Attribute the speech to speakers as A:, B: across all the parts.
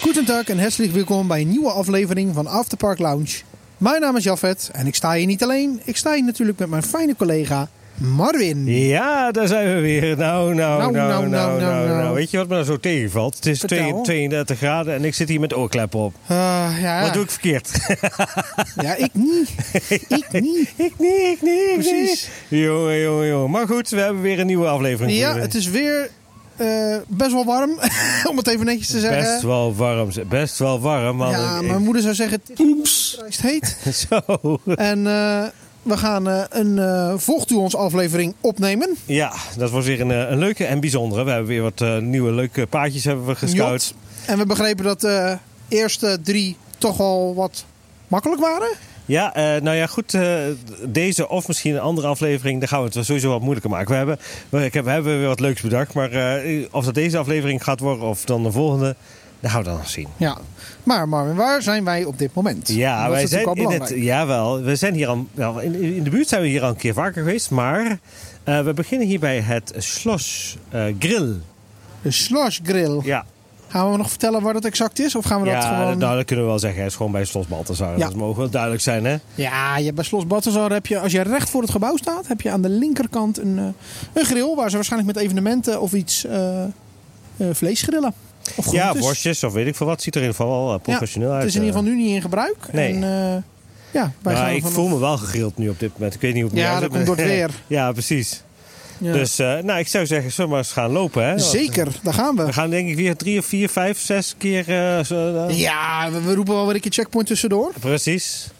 A: Goedendag en herzlich welkom bij een nieuwe aflevering van After Park Lounge. Mijn naam is Jafet en ik sta hier niet alleen. Ik sta hier natuurlijk met mijn fijne collega Marwin.
B: Ja, daar zijn we weer. Nou, nou, nou, nou, nou, nou.
A: nou.
B: Weet je wat me nou zo tegenvalt? Het is
A: Vertel.
B: 2 32 graden en ik zit hier met oorkleppen op.
A: Eh, ja,
B: Wat doe ik verkeerd?
A: ja, ik niet. ik niet.
B: ik niet, ik niet, ik
A: Precies.
B: niet. Jongen, jongen, jongen. Maar goed, we hebben weer een nieuwe aflevering.
A: Ja,
B: voor je.
A: het is weer eh, best wel warm, om het even netjes te zeggen.
B: Best wel warm, ze- best wel warm. Want
A: eh, ja,
B: ik-
A: mijn moeder zou zeggen, oeps, is het heet.
B: Zo.
A: En eh, we gaan eh, een eh volgt u ons aflevering opnemen.
B: Ja, dat was weer een, eh, een leuke en bijzondere. We hebben weer wat eh, nieuwe leuke paadjes hebben we gescout.
A: En we begrepen dat de eerste drie toch al wat makkelijk waren.
B: Ja, eh, nou ja, goed. eh, deze of misschien een andere aflevering, daar gaan we het wel sowieso wat moeilijker maken. We hebben, we, ik heb, we hebben weer wat leuks bedacht. Maar eh, of dat deze aflevering gaat worden of dan de volgende, dat gaan we dan nog zien.
A: Ja. Maar Marvin, waar zijn wij op dit moment?
B: Ja,
A: dat
B: wij
A: is natuurlijk
B: zijn
A: wel
B: in het,
A: belangrijk.
B: jawel, we zijn hier al, wel, in, in de buurt zijn we hier al een keer vaker geweest. Maar eh, we beginnen hier bij het Schloss eh, Grill.
A: De Slush Grill.
B: Ja,
A: Gaan we nog vertellen waar dat exact is? Of gaan we dat
B: ja
A: gewoon...
B: nou, dat kunnen we wel zeggen. Het is gewoon bij Schloss Balthasar.
A: Ja.
B: Dat mogen wel duidelijk zijn, hè?
A: Ja, je, bij Slos Balthazar heb je, als je recht voor het gebouw staat, heb je aan de linkerkant een, eh, een grill waar ze waarschijnlijk met evenementen of iets eh, eh, vlees grillen. Of
B: Ja,
A: groentes.
B: worstjes of weet ik veel wat. Ziet er in ieder geval wel eh,
A: Ja,
B: professioneel uit.
A: Het is in ieder
B: eh.
A: geval nu niet in gebruik.
B: Nee.
A: En, eh, ja, wij
B: Nou,
A: gaan
B: ik
A: vanaf-
B: voel me wel gegrild nu op dit moment. Ik weet niet hoe het
A: Ja,
B: met jou
A: dat
B: zit,
A: komt door
B: maar-
A: het weer.
B: ja, precies.
A: Ja.
B: Dus eh, nou, ik zou zeggen, zullen we maar eens gaan lopen. Hè? Want
A: Zeker, daar gaan
B: We
A: we.
B: gaan denk ik weer drie of vier, vijf, zes keer... eh, zo, eh,
A: Ja, we, we roepen wel weer een keer checkpoint tussendoor.
B: Precies.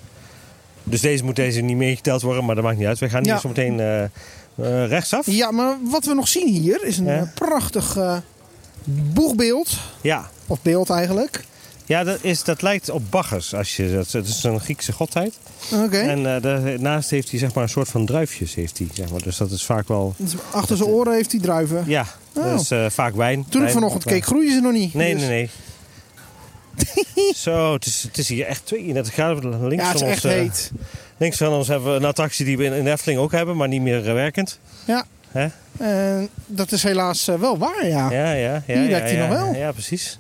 B: Dus deze moet deze niet meegeteld worden, maar dat maakt niet uit. We gaan
A: Ja.
B: hier zo meteen eh, eh, rechtsaf.
A: Ja, maar wat we nog zien hier is een
B: Ja.
A: eh, prachtig eh, boegbeeld.
B: Ja,
A: Of beeld eigenlijk.
B: ja dat, is, dat lijkt op Bacchus. Als je, dat, dat is een Griekse godheid.
A: Oké.
B: En eh, daarnaast heeft hij zeg maar, een soort van druifjes. Heeft hij, zeg maar. Dus dat is vaak wel...
A: Dus Achter zijn oren heeft hij druiven.
B: Ja,
A: Oh.
B: dat is eh, vaak wijn.
A: Toen ik
B: Wijn, eh,
A: vanochtend
B: wijn.
A: keek, groeien ze nog niet.
B: Nee,
A: Dus-
B: nee, nee. Zo, het is, het is hier echt 32 graden. Links,
A: Ja, het is
B: van
A: echt
B: ons, eh,
A: heet.
B: links van ons hebben we een attractie die we in, in de Efteling ook hebben, maar niet meer eh, werkend.
A: Ja,
B: Hè?
A: en dat is helaas eh, wel waar, ja.
B: Ja, ja, ja.
A: Hier
B: ja,
A: werkt hij
B: ja,
A: nog wel.
B: Ja, precies.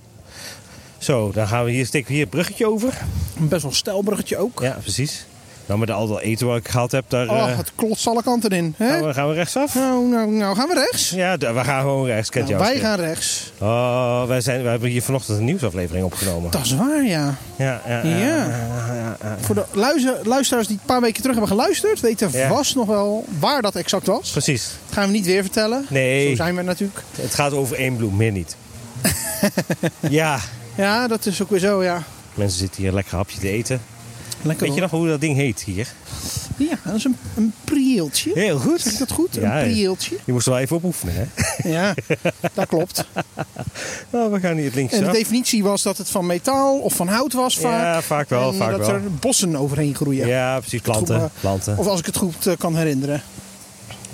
B: Zo, dan gaan we hier, steken we hier het bruggetje over.
A: Een Best wel stelbruggetje ook.
B: Ja, precies. Nou, met al dat eten wat ik gehaald heb, daar eh,
A: Oh, het klotst alle kanten in. Hè?
B: gaan, we, gaan we rechtsaf.
A: Nou, nou, nou, gaan we rechts?
B: Ja, d- we gaan gewoon rechts. Kent
A: Nou,
B: jou.
A: wij gaan rechts.
B: Oh, wij, zijn, wij hebben hier vanochtend een nieuwsaflevering opgenomen.
A: Dat is waar, ja.
B: Ja, ja,
A: Ja.
B: ja, ja, ja, ja.
A: Voor de luize- luisteraars die een paar weken terug hebben geluisterd, weten
B: Ja.
A: vast nog wel waar dat exact was.
B: Precies.
A: Dat gaan we niet weer vertellen. Zo
B: Nee.
A: zijn we natuurlijk.
B: Het gaat over één bloem, meer niet. ja,
A: Ja, dat is ook weer zo, ja.
B: mensen zitten hier lekker hapje te eten.
A: Lekker
B: Weet je nog hoe dat ding heet hier?
A: hoor. Ja, dat is een, een prieltje.
B: Heel
A: Zeg ik
B: goed.
A: dat goed?
B: Ja, ja.
A: een prieltje.
B: Je moest er wel even op oefenen, hè?
A: Ja, dat klopt.
B: Nou, we gaan hier het
A: En
B: linkje
A: de
B: af.
A: definitie was dat het van metaal of van hout was vaak.
B: Ja, vaak wel,
A: en
B: vaak
A: dat
B: wel.
A: er bossen overheen groeien.
B: Ja, precies. Planten.
A: Goed, eh,
B: planten.
A: Of als ik het goed eh, kan herinneren.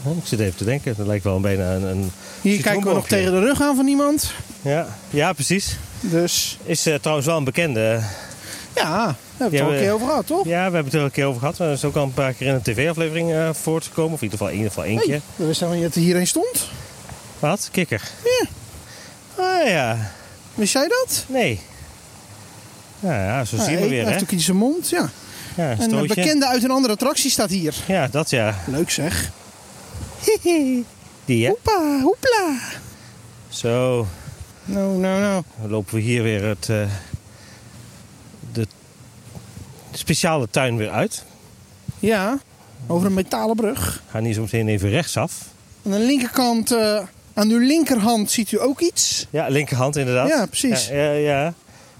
B: Oh, ik zit even te denken. Dat lijkt wel bijna een... een
A: Hier kijken we nog
B: citroenboogje.
A: tegen de rug aan van iemand.
B: Ja, ja precies.
A: Dus
B: Is eh, trouwens wel een bekende.
A: ja, daar hebben we het
B: Ja,
A: al
B: we-
A: een keer over gehad, toch?
B: Ja, we hebben het er al een keer over gehad. maar Dat is ook al een paar keer in een tv-aflevering eh voortgekomen. Of in ieder geval, in ieder geval eentje.
A: Hey, we wisten helemaal niet dat er hierheen stond.
B: Wat? Kikker. Ja. Ah ja.
A: Wist jij dat?
B: Nee. Nou ja, zo zien
A: Ja,
B: we
A: hij
B: weer,
A: heeft
B: hè?
A: ook iets in zijn mond, ja.
B: Ja, een
A: En een eh,
B: stootje.
A: bekende uit een andere attractie staat hier.
B: Ja, dat ja.
A: Leuk zeg.
B: Die, hè?
A: Hoepa, hoepla.
B: Zo,
A: Nou, nou, nou.
B: dan lopen we hier weer het... eh, de speciale tuin weer uit.
A: Ja, over een metalen brug.
B: Gaan hier zo meteen even rechtsaf.
A: Aan de linkerkant, eh, aan uw linkerhand ziet u ook iets.
B: Ja, linkerhand inderdaad.
A: Ja, precies.
B: Ja, ja, ja.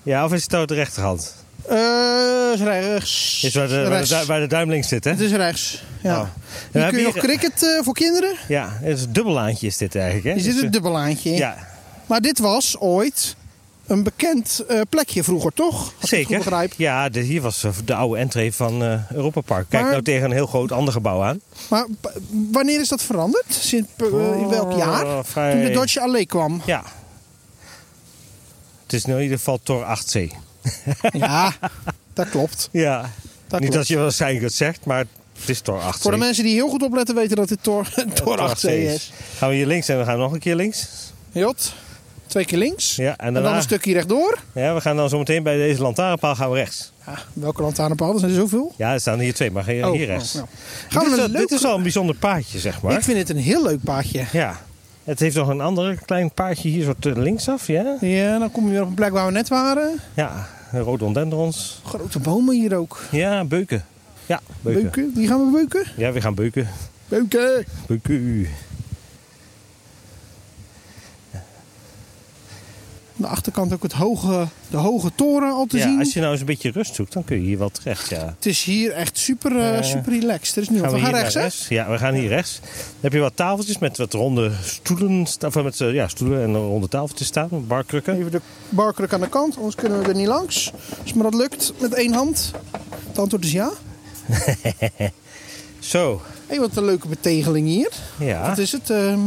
B: Ja, of is het nou de rechterhand?
A: Eh, is rechts.
B: Is waar de, waar de,
A: rechts.
B: du- waar de duim links zit, hè?
A: Het is rechts, ja.
B: Oh.
A: Hier
B: Ja,
A: kun je nog
B: hier-
A: cricket eh, voor kinderen.
B: Ja, het is een dubbellaantje is dit eigenlijk, hè?
A: Hier zit
B: Dus,
A: een dubbelaantje in.
B: eh, Ja,
A: Maar dit was ooit een bekend eh, plekje vroeger, toch? Als ik het
B: zeker.
A: goed begrijp.
B: Ja, de, hier was eh, de oude entree van eh Europa Park. Kijk
A: Maar-
B: nou tegen een heel groot ander gebouw aan.
A: Maar p- wanneer is dat veranderd? Sinds eh, in welk jaar?
B: Oh, vrij-
A: Toen de Dodge Allee kwam.
B: Ja. Het is in ieder geval Tor 8C.
A: Ja, dat klopt.
B: Ja,
A: Dat
B: niet
A: klopt.
B: dat je wel zijn zegt, maar het is Tor 8C.
A: Voor de mensen die heel goed opletten weten dat dit Tor,
B: Tor
A: tor 8C is.
B: Gaan we hier links en we gaan nog een keer links.
A: Jot, twee keer links.
B: Ja, en
A: en, dan
B: daarna-
A: een stukje rechtdoor.
B: Ja, we gaan dan zometeen bij deze lantaarnpaal gaan we rechts.
A: Ja, welke lantaarnpaal? Er zijn er zoveel.
B: Ja, er staan hier twee, maar hier, hier rechts.
A: oh, nou. Gaan we
B: dit, is,
A: naar
B: wel-
A: een
B: dit
A: leuk...
B: is wel een bijzonder paadje, zeg maar.
A: Ik vind het een heel leuk paadje.
B: Ja. Het heeft nog een ander klein paadje hier zo te linksaf, ja?
A: Ja, dan kom je weer op een plek waar we net waren.
B: Ja, rhododendrons.
A: Grote bomen hier ook.
B: Ja, beuken. Ja, beuken.
A: Beuken. Die gaan we beuken?
B: Ja, we gaan beuken.
A: Beuken.
B: Beuken.
A: Aan de achterkant ook het hoge, de hoge toren al te zien.
B: Ja, als je nou eens een beetje rust zoekt, dan kun je hier wel terecht, ja.
A: Het is hier echt super, eh,
B: Eh,
A: super relaxed. Er is nu wat. We
B: hier
A: gaan
B: naar
A: rechts, hè?
B: Ja, we gaan hier rechts. Dan heb je wat tafeltjes met wat ronde stoelen, sta- of met eh, ja, stoelen en ronde tafeltjes staan, barkrukken.
A: Even de barkruk aan de kant, anders kunnen we er niet langs. Als me dat lukt met één hand. Het antwoord is ja.
B: Zo,
A: Hé, wat een leuke betegeling hier.
B: ja.
A: Wat is het? ehm,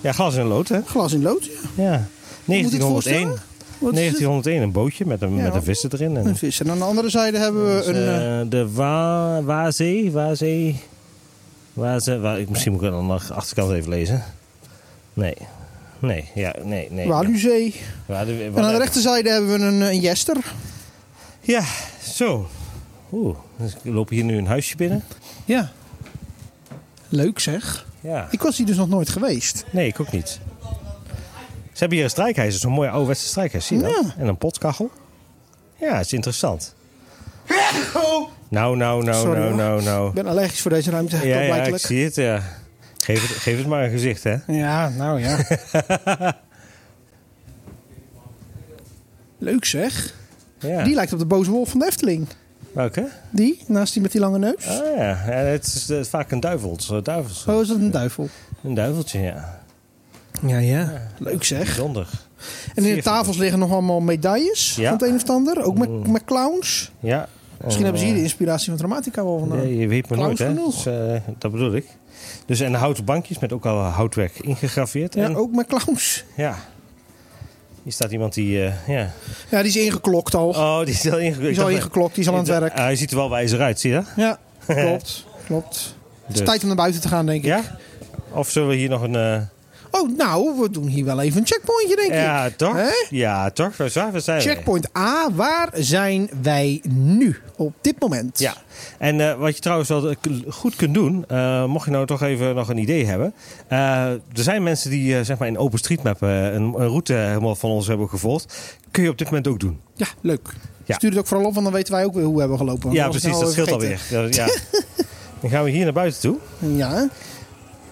B: Ja, glas en lood, hè?
A: glas in lood. Ja.
B: Ja.
A: moet je het
B: 1901.
A: voorstellen? Wat is het?
B: 1901, een bootje met een,
A: Ja.
B: met een visser erin. En, dus,
A: Een vis. En aan de andere zijde hebben we een... eh,
B: Eh, de Wa- Wazee, Wazee, Wazee, Wa- ik Misschien moet ik dan nog de achterkant even lezen. Nee. Nee, ja, nee, nee.
A: Waluzee.
B: Ja, de-
A: En aan de rechterzijde hebben we een, eh, een jester.
B: Ja, zo. Oeh, dus ik loop hier nu een huisje binnen.
A: Ja. Leuk zeg.
B: Ja.
A: Ik was hier dus nog nooit geweest.
B: Nee, ik ook niet. Ze hebben hier een strijkijzer, zo'n mooie ouderwetse strijkijzer, zie je dat? En een potkachel. Ja, is interessant. Nou, nou, nou,
A: Sorry,
B: nou,
A: hoor.
B: nou, nou.
A: Ik ben allergisch voor deze ruimte.
B: Ja, ja, ik
A: blijkelijk.
B: zie het, ja. Geef het, geef het maar een gezicht, hè.
A: Ja, nou ja. Leuk zeg.
B: Ja.
A: Die lijkt op de boze wolf van de Efteling.
B: Welke?
A: Die, naast die met die lange neus.
B: Ah ja, ja het is eh, vaak een duivels, eh, duivels.
A: Zo is dat een duivel.
B: Een duiveltje, ja.
A: Ja, ja. Leuk zeg.
B: Bijzonder.
A: En in de tafels liggen nog allemaal medailles
B: Ja. Oh.
A: van het een of het ander. Ook met, met clowns.
B: Ja.
A: Misschien hebben ze hier de inspiratie van Dramatica wel vandaan.
B: Nee, je weet maar nooit,
A: Clowns
B: hè.
A: genoeg.
B: Dus, eh, dat bedoel ik. Dus en houten bankjes met ook al houtwerk ingegraveerd.
A: Ja,
B: en,
A: ook met clowns.
B: ja. Hier staat iemand die... eh, ja.
A: Ja, die is ingeklokt al.
B: Oh, die is al ingeklokt.
A: die is al ingeklokt, die is al aan het werk.
B: eh, hij ziet er wel wijzer uit, zie je dat?
A: Ja, klopt. klopt. Het is
B: Dus.
A: tijd om naar buiten te gaan, denk ik.
B: Ja? Of zullen we hier nog een... eh,
A: Oh, nou, we doen hier wel even een checkpointje, denk ik.
B: ja, toch?
A: Hè?
B: Ja, toch? Waar zijn we?
A: Checkpoint A, waar zijn wij nu op dit moment?
B: Ja, en eh, wat je trouwens wel eh, k- goed kunt doen, eh, mocht je nou toch even nog een idee hebben. eh, er zijn mensen die eh, zeg maar in OpenStreetMap eh, een, een route helemaal van ons hebben gevolgd. Kun je op dit moment ook doen.
A: Ja, leuk.
B: Ja.
A: Stuur het ook vooral op, want dan weten wij ook weer hoe we hebben gelopen.
B: ja,
A: Want als we
B: precies, dat
A: het
B: scheelt
A: nou
B: alweer. Ja, ja. Dan gaan we hier naar buiten toe.
A: vergeten. Ja,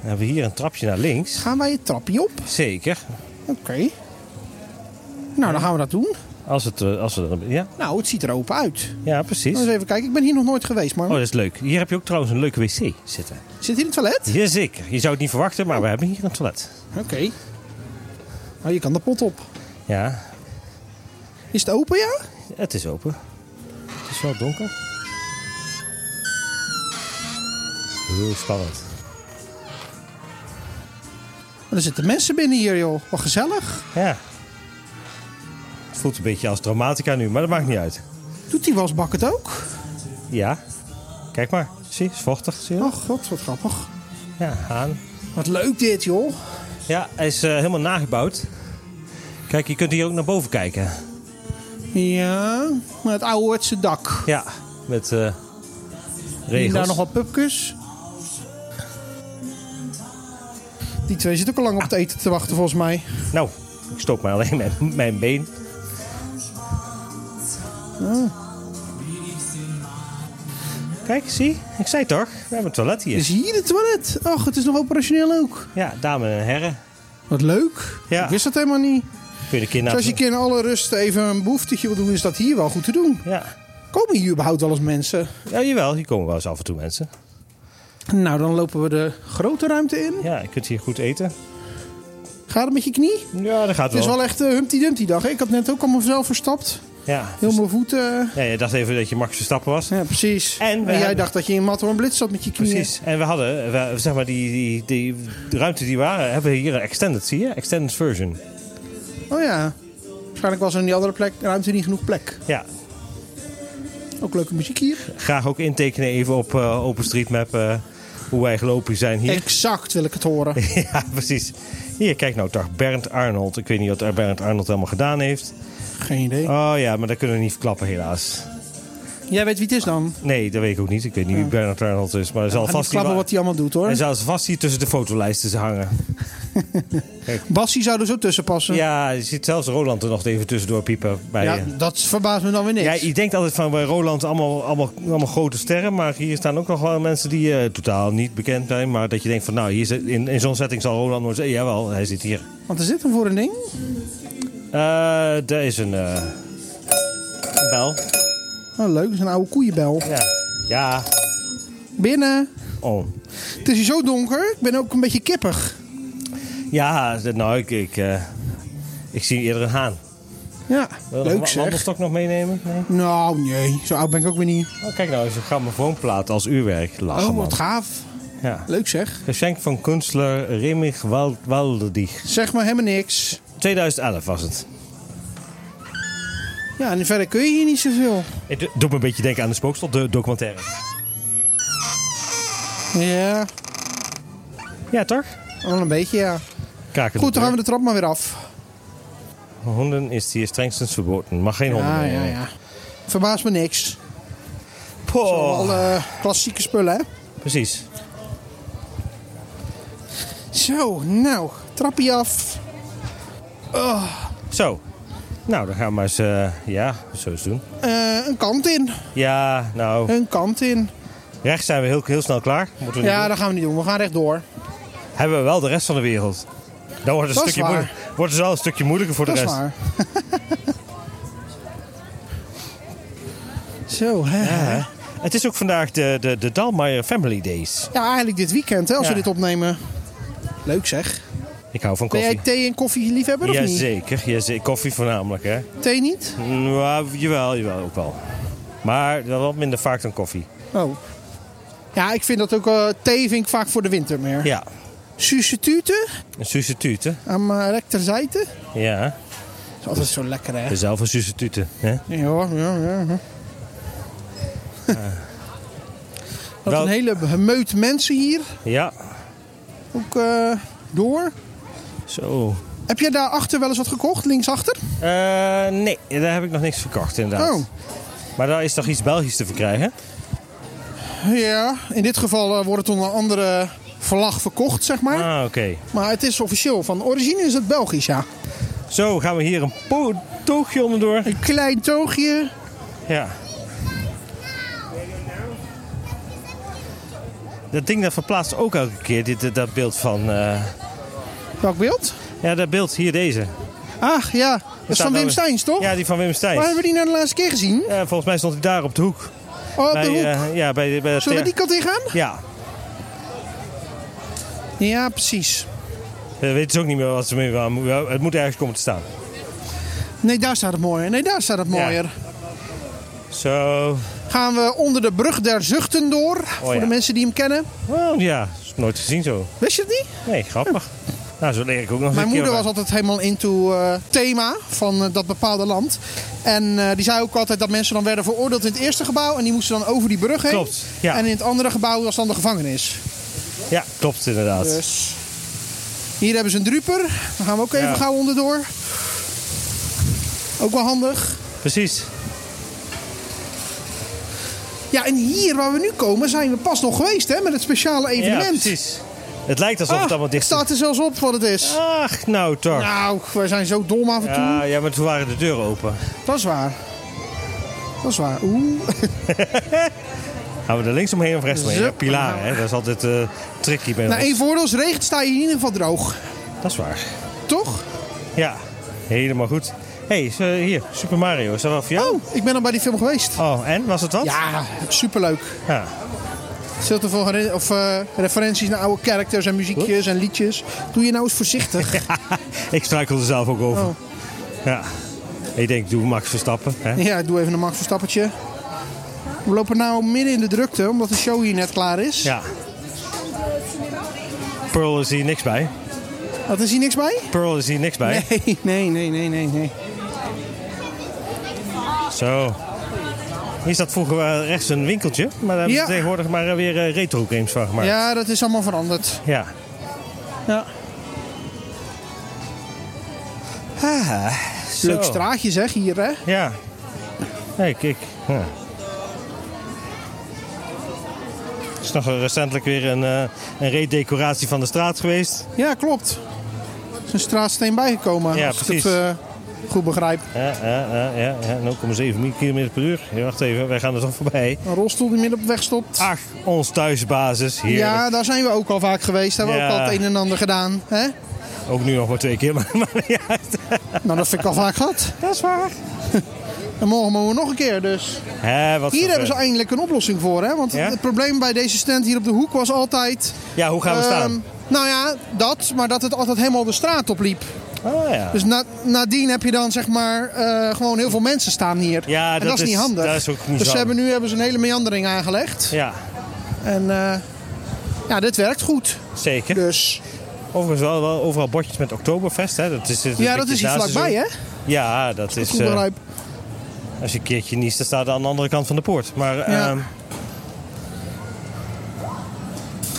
B: Dan hebben we hier een trapje naar links.
A: gaan wij het trapje op?
B: Zeker.
A: Oké. Nou, dan gaan we dat doen.
B: Als het, eh, als we er, ja,
A: Nou, het ziet er open uit. Nou,
B: ja, precies.
A: Eens even kijken, ik ben hier nog nooit geweest, maar
B: Oh, dat is leuk. Hier heb je ook trouwens een leuke wc zitten.
A: zit hier een toilet?
B: Jazeker. Je zou het niet verwachten, maar we hebben hier een toilet.
A: Oké. Nou, je kan de pot op.
B: Ja,
A: Is het open, ja?
B: Het is open. Het is wel donker. Heel spannend.
A: Maar er zitten mensen binnen hier, joh. Wat gezellig.
B: Ja. Het voelt een beetje als dramatica nu, maar dat maakt niet uit.
A: Doet die wasbak het ook?
B: Ja. Kijk maar. Zie, is vochtig. Zie je? dat?
A: Oh god, wat grappig.
B: Ja, aan.
A: Wat leuk dit, joh.
B: Ja, hij is eh, helemaal nagebouwd. Kijk, je kunt hier ook naar boven kijken.
A: Ja, maar het ouderwetse dak.
B: Ja, met eh
A: Hier en
B: regels.
A: daar nog wat pupkes. Die twee zitten ook al lang op het eten te wachten, volgens mij.
B: Nou, ik stoot maar alleen mijn, mijn been. Ah. Kijk, zie? Ik zei toch? We hebben een toilet hier.
A: Is hier het toilet? Och, het is nog operationeel ook.
B: Ja, dames en heren.
A: Wat leuk.
B: Ja.
A: Ik wist dat helemaal niet.
B: Kun je de
A: Dus
B: kinderen...
A: als je een keer in alle rust even een behoeftetje wil doen, is dat hier wel goed te doen.
B: Ja.
A: Komen hier überhaupt wel eens mensen?
B: ja, jawel. Hier komen wel eens af en toe mensen.
A: Nou, dan lopen we de grote ruimte in.
B: Ja, je kunt hier goed eten.
A: Gaat het met je knie?
B: Ja, dat
A: Het
B: gaat wel.
A: is wel echt eh, Humpty Dumpty dag. hè? Ik had net ook allemaal zelf verstapt.
B: Ja.
A: Heel mijn voeten.
B: ja, je dacht even dat je Max Verstappen was.
A: Ja, precies.
B: En we
A: En, jij
B: hebben-
A: dacht dat je in Matterhorn Blitz zat met je knieën.
B: Precies. En we hadden, eh, we, zeg maar, die, die, die de ruimte die we waren, hebben we hier een extended, zie je? Extended version.
A: Oh ja. Waarschijnlijk Waarschijnlijk was er in die andere plek, ruimte niet genoeg plek.
B: Ja,
A: Ook leuke muziek hier.
B: graag ook intekenen even op eh, OpenStreetMap eh, hoe wij gelopen zijn hier.
A: Exact wil ik het horen.
B: ja, precies. Hier, kijk nou, dag Bernd Arnold. Ik weet niet wat er Bernd Arnold allemaal gedaan heeft.
A: Geen idee.
B: Oh ja, maar dat kunnen we niet verklappen helaas.
A: Jij weet wie het is dan.
B: Nee, dat weet ik ook niet. Ik weet niet wie Bernard Arnold is, maar hij zal
A: Ga niet
B: vast hier
A: klappen
B: wel-
A: wat hij allemaal doet
B: hij
A: hoor.
B: zal vast hier tussen de fotolijsten hangen.
A: Bassie zou er zo tussen passen.
B: Ja, je ziet zelfs Roland er nog even tussendoor piepen. Bij
A: Ja,
B: eh,
A: dat verbaast me dan weer niks.
B: Ja, je denkt altijd van bij Roland allemaal, allemaal, allemaal grote sterren. Maar hier staan ook nog wel mensen die eh, totaal niet bekend zijn. Maar dat je denkt van nou, hier zit, in, in zo'n setting zal Roland nooit zeggen. Jawel, hij zit hier.
A: Want er zit hem voor een ding.
B: Eh daar is een eh, een bel.
A: Nou, leuk, dat is een oude koeienbel.
B: Ja. Ja.
A: Binnen.
B: Oh.
A: Het is hier zo donker. Ik ben ook een beetje kippig.
B: Ja, d- nou, ik, ik, eh, ik zie eerder een haan.
A: Ja,
B: Wil je
A: leuk
B: nog een
A: zeg.
B: wandelstok nog meenemen? Nee?
A: Nou, nee. Zo oud ben ik ook weer niet.
B: Oh, kijk nou, is een grammofoonplaat als uurwerk. Lachen,
A: Oh,
B: man.
A: wat gaaf.
B: Ja.
A: Leuk zeg.
B: Geschenk van kunstler Remig Wal- Walderdich.
A: Zeg maar helemaal niks.
B: 2011 was het.
A: Ja, en verder kun je hier niet zoveel.
B: Het do- doet me een beetje denken aan de spookstad, de documentaire.
A: Ja,
B: Ja, toch?
A: wel een beetje ja.
B: Kaken
A: Goed,
B: de
A: dan gaan we de trap maar weer af.
B: deur. Honden is hier strengstens verboden. Mag geen honden
A: Ja,
B: meer.
A: ja,
B: nee.
A: ja. Verbaast me niks.
B: Poh.
A: Al eh, klassieke spullen hè.
B: Precies.
A: Zo, nou. Trappie af.
B: Zo. Nou, dan gaan we maar eens, eh, ja, zo eens doen.
A: Eh, een kant in.
B: Ja, nou,
A: Een kant in.
B: rechts zijn we heel, heel snel klaar. Moeten we niet
A: Ja,
B: doen.
A: dat gaan we niet doen. We gaan rechtdoor.
B: Hebben we wel de rest van de wereld. Dan wordt het,
A: Dat is
B: een stukje,
A: waar.
B: moeilijker- wordt het wel een stukje moeilijker voor
A: Dat
B: de
A: is
B: rest.
A: waar. Zo, hè.
B: Ja. Het is ook vandaag de, de, de Dalmeier Family Days.
A: Ja, eigenlijk dit weekend, hè, als
B: Ja.
A: we dit opnemen. Leuk zeg.
B: Ik hou van
A: Ben jij
B: koffie.
A: thee en koffie liefhebber of niet?
B: Jazeker, jazeker. Koffie voornamelijk, hè? Mm,
A: Thee niet?
B: Ja, jawel, jawel, ook wel. Maar wel wat minder vaak dan koffie.
A: Oh. Ja, ik vind dat ook... eh, thee vind ik vaak voor de winter meer.
B: Ja,
A: Substituten
B: een substituut, hè?
A: aan mijn rechterzijde.
B: Ja,
A: Dat is altijd zo lekker, hè?
B: zelf een substituut, hè?
A: Ja, hoor, ja, ja. ja. Dat
B: Eh. Wel-
A: een hele meut mensen hier.
B: Ja,
A: Ook eh, door.
B: zo.
A: Heb jij daarachter wel eens wat gekocht, linksachter?
B: Eh, nee, daar heb ik nog niks verkocht, inderdaad.
A: Oh.
B: Maar daar is toch iets Belgisch te verkrijgen?
A: Ja, in dit geval eh, wordt het onder een andere vlag verkocht, zeg maar.
B: Ah, oké.
A: Maar het is officieel, van origine is het Belgisch, ja.
B: Zo, gaan we hier een po- toogje onderdoor.
A: Een klein toogje.
B: Ja. Dat ding dat verplaatst ook elke keer, dit, dit- dat beeld van... eh,
A: Welk beeld?
B: ja, dat beeld, hier deze.
A: Ach, Ah, ja. Dat is
B: staat
A: van
B: nou
A: Wim
B: een-
A: Steins, toch?
B: Ja, die van Wim Stijs.
A: Waar hebben we die nou de laatste keer gezien?
B: Eh, volgens mij stond hij daar op de hoek.
A: Oh, op
B: bij,
A: de hoek.
B: eh, ja, bij, de- bij dat
A: Zullen we die
B: ter-
A: kant in gaan?
B: Ja,
A: Ja, precies.
B: Eh, we weten ze ook niet meer wat ze mee waar mo- ja, Het moet ergens komen te staan.
A: Nee, daar staat het mooier. Nee, daar staat het mooier.
B: Zo,
A: Gaan we onder de brug der zuchten door. voor
B: Oh ja.
A: de mensen die hem kennen.
B: well, ja, is nooit gezien zo.
A: Wist je het niet?
B: Nee, grappig. Nou, zo leer ik ook nog
A: Mijn
B: een keer
A: moeder was
B: wat.
A: altijd helemaal into eh, thema van eh, dat bepaalde land. En eh, die zei ook altijd dat mensen dan werden veroordeeld in het eerste gebouw. En die moesten dan over die brug heen.
B: Klopt, ja.
A: En in het andere gebouw was dan de gevangenis.
B: Ja, klopt inderdaad.
A: Dus hier hebben ze een druper. Daar gaan we ook even
B: Ja.
A: gauw onderdoor. Ook wel handig.
B: Precies.
A: Ja, en hier waar we nu komen zijn we pas nog geweest hè, met het speciale evenement.
B: Ja, precies. Het lijkt alsof
A: Ah,
B: het allemaal
A: het
B: dicht
A: staat er zelfs op wat het is.
B: Ach, nou toch. Ja.
A: Nou, wij zijn zo dom af en toe.
B: ja, maar toen waren de deuren open.
A: Dat is waar. Dat is waar. Oeh.
B: Gaan we er links omheen of rechts omheen?
A: Zo.
B: Ja, pilaren, hè? dat is altijd eh tricky bij
A: Nou,
B: ons.
A: één voordeel is regent sta je in ieder geval droog.
B: Dat is waar.
A: Toch?
B: Ja, helemaal goed. Hé, hey, hier, Super Mario, is dat wel voor jou?
A: Oh, ik ben al bij die film geweest.
B: Oh, en? Was het wat?
A: Ja, superleuk.
B: Ja.
A: Zult er veel herinner- of, eh, referenties naar oude characters en muziekjes en liedjes. Doe je nou eens voorzichtig.
B: ik struikel er zelf ook over.
A: Oh.
B: Ja. Ik denk, doe Max Verstappen. Hè?
A: ja, doe even een Max Verstappertje. We lopen nou midden in de drukte, omdat de show hier net klaar is.
B: Ja. Pearl is hier niks bij.
A: Had er hier niks bij?
B: Pearl is hier niks bij.
A: Nee, nee, nee, nee, nee. nee.
B: Zo. Hier zat vroeger eh, rechts een winkeltje, maar daar hebben
A: Ja.
B: ze tegenwoordig maar eh, weer eh, retro games van gemaakt.
A: Ja, dat is allemaal veranderd.
B: Ja.
A: Ja.
B: Zo.
A: Ah, Leuk straatje zeg, hier hè.
B: Ja. Hey, kijk. Ja. Er is nog recentelijk weer een, eh een redecoratie van de straat geweest.
A: Ja, klopt. Er is een straatsteen bijgekomen.
B: Ja,
A: als ik
B: precies.
A: het eh, goed begrijp.
B: Ja, ja, ja, ja, ja, 0,7 km per uur. Ja, wacht even, wij gaan er toch voorbij.
A: Een rolstoel die midden op weg stopt.
B: Ach, ons thuisbasis. Hier.
A: ja, daar zijn we ook al vaak geweest. Hebben we
B: Ja.
A: ook al het een en ander gedaan. Hè?
B: Ook nu nog maar twee keer, maar, maar ja,
A: Nou, dat vind ik al vaak gehad.
B: dat is waar.
A: En morgen mogen we nog een keer dus.
B: Hè, wat
A: Hier
B: voor-
A: hebben ze eindelijk een oplossing voor. Hè? Want
B: Ja?
A: het probleem bij deze stand hier op de hoek was altijd...
B: Ja, hoe gaan we
A: ehm,
B: staan?
A: Nou ja, dat. Maar dat het altijd helemaal de straat op liep.
B: Oh, ja.
A: Dus na, nadien heb je dan zeg maar eh, gewoon heel veel mensen staan hier.
B: Ja,
A: en dat,
B: dat
A: is niet
B: is-
A: handig.
B: dat is ook niet
A: dus ze
B: zo.
A: hebben nu hebben ze een hele meandering aangelegd.
B: ja,
A: En eh, ja, dit werkt goed.
B: zeker.
A: Dus
B: Overigens wel, wel overal bordjes met Oktoberfest. Hè. Dat is, het
A: ja,
B: een
A: dat
B: beetje
A: is hier
B: naseizoen.
A: vlakbij hè.
B: Ja, dat is...
A: Goed
B: eh,
A: begrijp.
B: Als je een keertje niest, dan staat het aan de andere kant van de poort. Maar,
A: Ja.
B: ehm,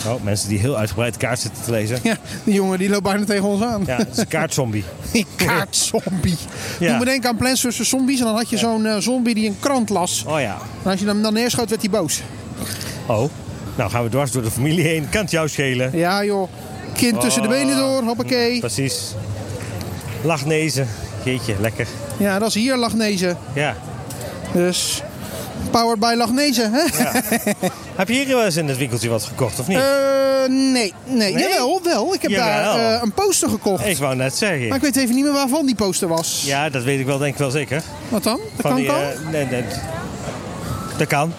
B: Oh, mensen die heel uitgebreid de kaart zitten te lezen.
A: Ja, die jongen die loopt bijna tegen ons aan.
B: Ja, dat is een kaartzombie.
A: Die kaartzombie.
B: Ja.
A: Doe me denken aan Plants vs. Zombies. En dan had je zo'n eh, zombie die een krant las.
B: Oh ja.
A: En als je hem dan neerschoot, werd hij boos.
B: Oh. Nou gaan we dwars door de familie heen. Kan het jou schelen?
A: Ja joh,
B: Oh.
A: kind tussen de benen door, hoppakee.
B: Precies. Lachnezen. Jeetje, lekker.
A: Ja, dat is hier Lagnezen.
B: Ja.
A: Dus powered by Lagnezen, hè?
B: Heb je hier wel eens in het winkeltje wat gekocht, of niet?
A: Eh, nee, nee.
B: Nee?
A: Jawel, wel. Ik heb daar
B: Jawel.
A: eh, een poster gekocht.
B: Ik wou net zeggen.
A: Maar ik weet even niet meer waarvan die poster was.
B: Ja, dat weet ik wel, denk ik wel zeker.
A: Wat dan? Dat kan
B: die,
A: kan?
B: eh, nee, nee. Dat kan.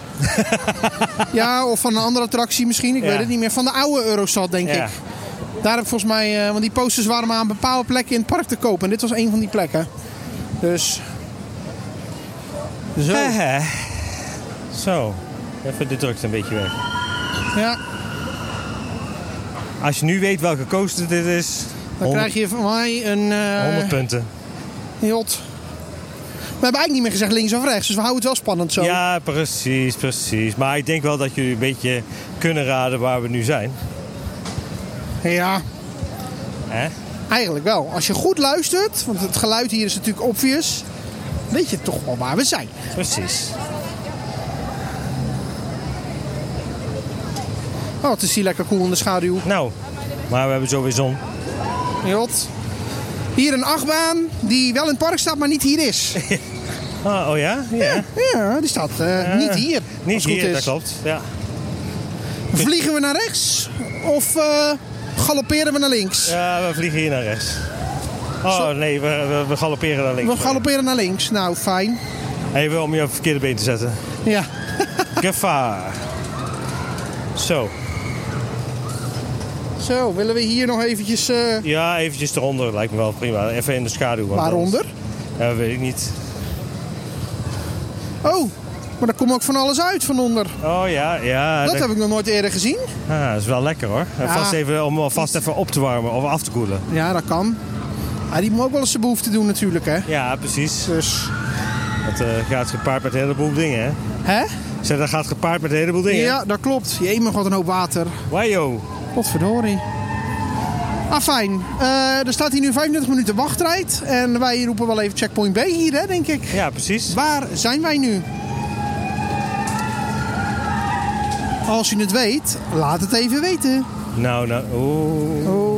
A: Ja, of van een andere attractie misschien. Ik
B: Ja.
A: weet het niet meer. Van de oude Eurostad, denk
B: Ja.
A: ik. Daar heb ik volgens mij... eh, want die posters waren maar aan bepaalde plekken in het park te kopen. En dit was een van die plekken. Dus... Zo.
B: Eh, Hè, hè. Zo. Even de drukte een beetje weg.
A: Ja,
B: Als je nu weet welke coaster dit is,
A: dan krijg je van mij een... eh,
B: 100 punten.
A: Jot. We hebben eigenlijk niet meer gezegd links of rechts. Dus we houden het wel spannend zo.
B: Ja, precies, precies. Maar ik denk wel dat jullie een beetje kunnen raden waar we nu zijn.
A: ja.
B: Hè?
A: Eigenlijk wel. Als je goed luistert, want het geluid hier is natuurlijk obvious, weet je toch wel waar we zijn.
B: Precies.
A: Oh, het is hier lekker cool in de schaduw.
B: Nou, maar we hebben zo weer zon.
A: Jot. Hier een achtbaan die wel in het park staat, maar niet hier is.
B: Ah, oh ja? Ja.
A: Ja, die staat eh, niet hier. als
B: Niet
A: het goed
B: hier,
A: is.
B: dat klopt. Ja.
A: Vliegen we naar rechts of eh, galopperen we naar links?
B: ja, we vliegen hier naar rechts. Oh
A: Zo-
B: nee, we, we, we galopperen naar links.
A: We galopperen naar links. Nou, fijn.
B: Even om je op het verkeerde been te zetten.
A: Ja.
B: Gevaar. Zo.
A: Zo, willen we hier nog eventjes... eh,
B: Ja, eventjes eronder lijkt me wel prima. Even in de schaduw. want
A: Waaronder?
B: anders- Ja, weet ik niet.
A: Oh, maar daar komt ook van alles uit van onder.
B: Oh ja, ja.
A: Dat heb ik nog nooit eerder gezien.
B: Ah, dat is wel lekker hoor. En
A: Ja.
B: Vast even, om alvast even op te warmen of af te koelen.
A: Ja, dat kan. Ah, die moet ook wel eens zijn behoefte doen natuurlijk, hè.
B: Ja, precies.
A: Dus,
B: Dat eh, gaat gepaard met een heleboel dingen. Hè?
A: hè?
B: Ik Zeg, dat gaat gepaard met een heleboel dingen.
A: Ja, dat klopt. Jemig, wat een hoop water.
B: Wajo.
A: Potverdorie. Ah, fijn. Eh, er staat hier nu 25 minuten wachtrijd. En wij roepen wel even checkpoint B hier, hè, denk ik.
B: Ja, precies.
A: Waar zijn wij nu? Als u het weet, laat het even weten.
B: Nou, nou. Oeh.
A: Oh.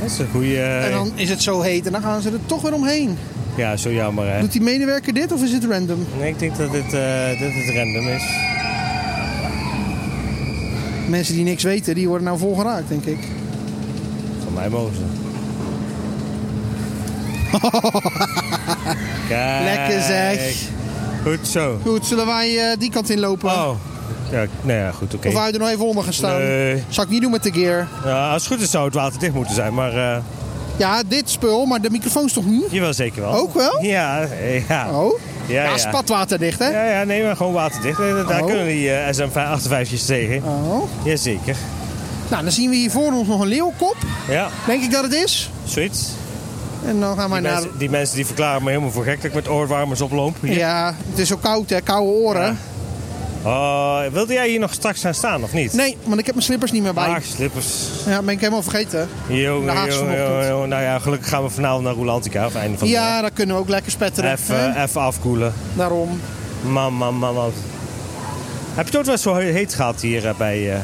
B: Dat is een goede.
A: En dan is het zo heet en dan gaan ze er toch weer omheen.
B: Ja, zo jammer hè.
A: Doet die medewerker dit of is het random?
B: Nee, ik denk dat dit, eh, dat het random is.
A: Mensen die niks weten, die worden nou volgeraakt, denk ik.
B: Van mij mogen ze. Kijk.
A: Lekker zeg.
B: Goed zo.
A: Goed, zullen wij eh, die kant inlopen?
B: Oh. Ja, nou ja, goed, oké.
A: Of wou je er nog even onder gaan staan?
B: Nee.
A: Zal ik niet doen met de gear.
B: Ja, Nou, als het goed is zou het water dicht moeten zijn, maar eh
A: Ja, dit spul, maar de microfoons toch niet?
B: jawel zeker wel.
A: Ook wel?
B: Ja, eh, ja.
A: Oh?
B: Ja, ja.
A: spatwaterdicht, hè?
B: Ja, ja, nee, maar gewoon waterdicht. Eh, Daar
A: Oh.
B: kunnen die SM58's tegen.
A: Oh.
B: Jazeker.
A: Nou, dan zien we hier voor ons nog een leeuwkop.
B: Ja,
A: Denk ik dat het is?
B: zoiets.
A: En dan gaan wij
B: Die,
A: naar...
B: mensen, die mensen die verklaren me helemaal voor gek dat ik met oorwarmers oploop. Hier.
A: nou- Ja, het is zo koud hè, koude oren.
B: Ja. Oh, wilde jij hier nog straks gaan staan of niet?
A: Nee, want ik heb mijn slippers niet meer bij.
B: Ach, slippers.
A: Ja, ben ik helemaal vergeten.
B: Jongen,
A: Haagse
B: jongen,
A: vanochtend.
B: jongen, jongen. Nou ja, gelukkig gaan we vanavond naar Rolantica. Of einde van de
A: Ja, dan kunnen we ook lekker
B: dag.
A: spetteren.
B: Even, eh.
A: hè?
B: even afkoelen.
A: Daarom.
B: Man, man, man, man. Heb je het ooit wel zo heet gehad hier eh, bij... eh,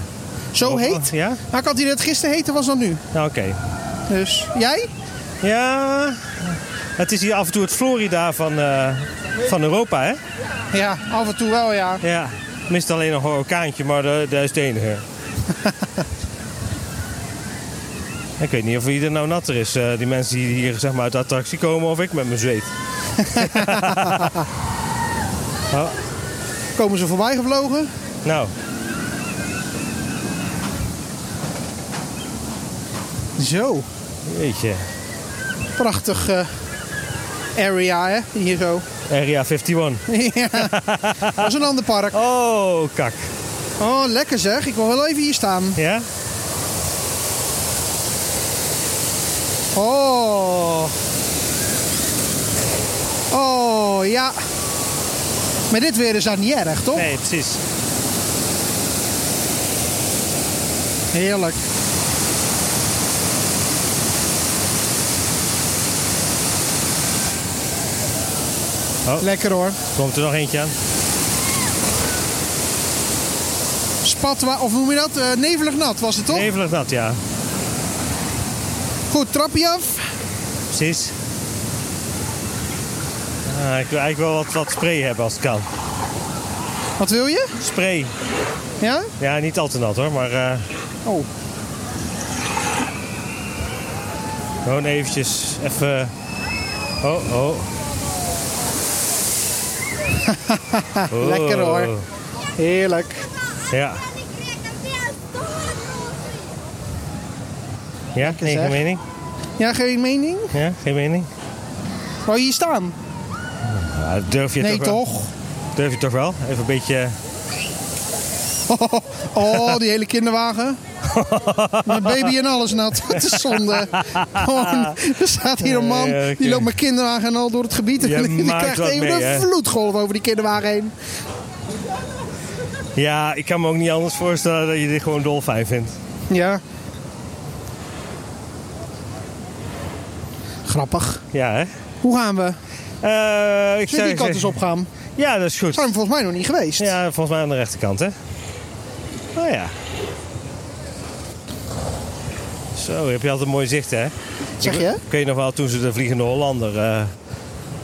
A: Zo
B: Rob-
A: heet.
B: Ja?
A: Maar ik had die dat gisteren heter was dan nu.
B: Nou, oké.
A: Dus jij?
B: Ja, het is hier af en toe het Florida van, eh, van Europa, hè?
A: Ja, af en toe wel ja.
B: Ja. Mist alleen een orkaantje, maar dat dat is het enige. ik weet niet of ieder nou natter is. eh, die mensen die hier zeg maar, uit de attractie komen of ik met mijn zweet.
A: Komen ze voorbij gevlogen?
B: Nou,
A: Zo.
B: jeetje.
A: Prachtig eh, area hè, hier zo.
B: Area 51.
A: ja. Dat is een ander park.
B: Oh, kak.
A: Oh, lekker zeg. Ik wil wel even hier staan.
B: Ja?
A: Oh. Oh, ja. Maar dit weer is dat niet erg, toch?
B: Nee, precies.
A: Heerlijk.
B: Oh.
A: Lekker hoor.
B: Komt er nog eentje aan?
A: Spatwa, of hoe noem je dat? Eh, nevelig nat was het toch?
B: Nevelig nat, ja.
A: Goed, trapje af.
B: Precies. Ah, ik wil eigenlijk wel wat, wat spray hebben als het kan.
A: Wat wil je?
B: Spray.
A: Ja?
B: Ja, niet al te nat hoor, maar eh,
A: Oh,
B: gewoon Oh, eventjes even... Oh, oh. Oh.
A: Lekker, hoor. heerlijk.
B: Ja. Ja, nee,
A: zeg.
B: geen mening?
A: Ja, geen mening?
B: Ja, geen mening?
A: Wou je hier staan?
B: Ja, durf je
A: nee,
B: toch, wel-
A: toch?
B: Durf je toch wel? Even een beetje...
A: Oh, die hele kinderwagen. Met baby en alles nat. Wat een zonde. Gewoon, er staat hier een man,
B: Ja, ja, oké.
A: die loopt met kinderwagen en al door het gebied. En
B: Jij
A: die
B: maakt
A: krijgt
B: wat
A: even
B: mee,
A: een
B: hè?
A: vloedgolf over die kinderwagen heen.
B: Ja, ik kan me ook niet anders voorstellen dat je dit gewoon dolfijn vindt.
A: Ja. Grappig.
B: Ja, hè?
A: Hoe gaan we?
B: Eh,
A: Zullen
B: ik zou
A: we die kant
B: zeggen-
A: eens opgaan?
B: Ja, dat is goed.
A: Zijn we volgens mij nog niet geweest.
B: Ja, volgens mij aan de rechterkant, hè? Oh ja. Zo, heb je altijd mooi zicht, hè?
A: Zeg je?
B: Ik weet nog wel, toen ze de Vliegende Hollander, eh,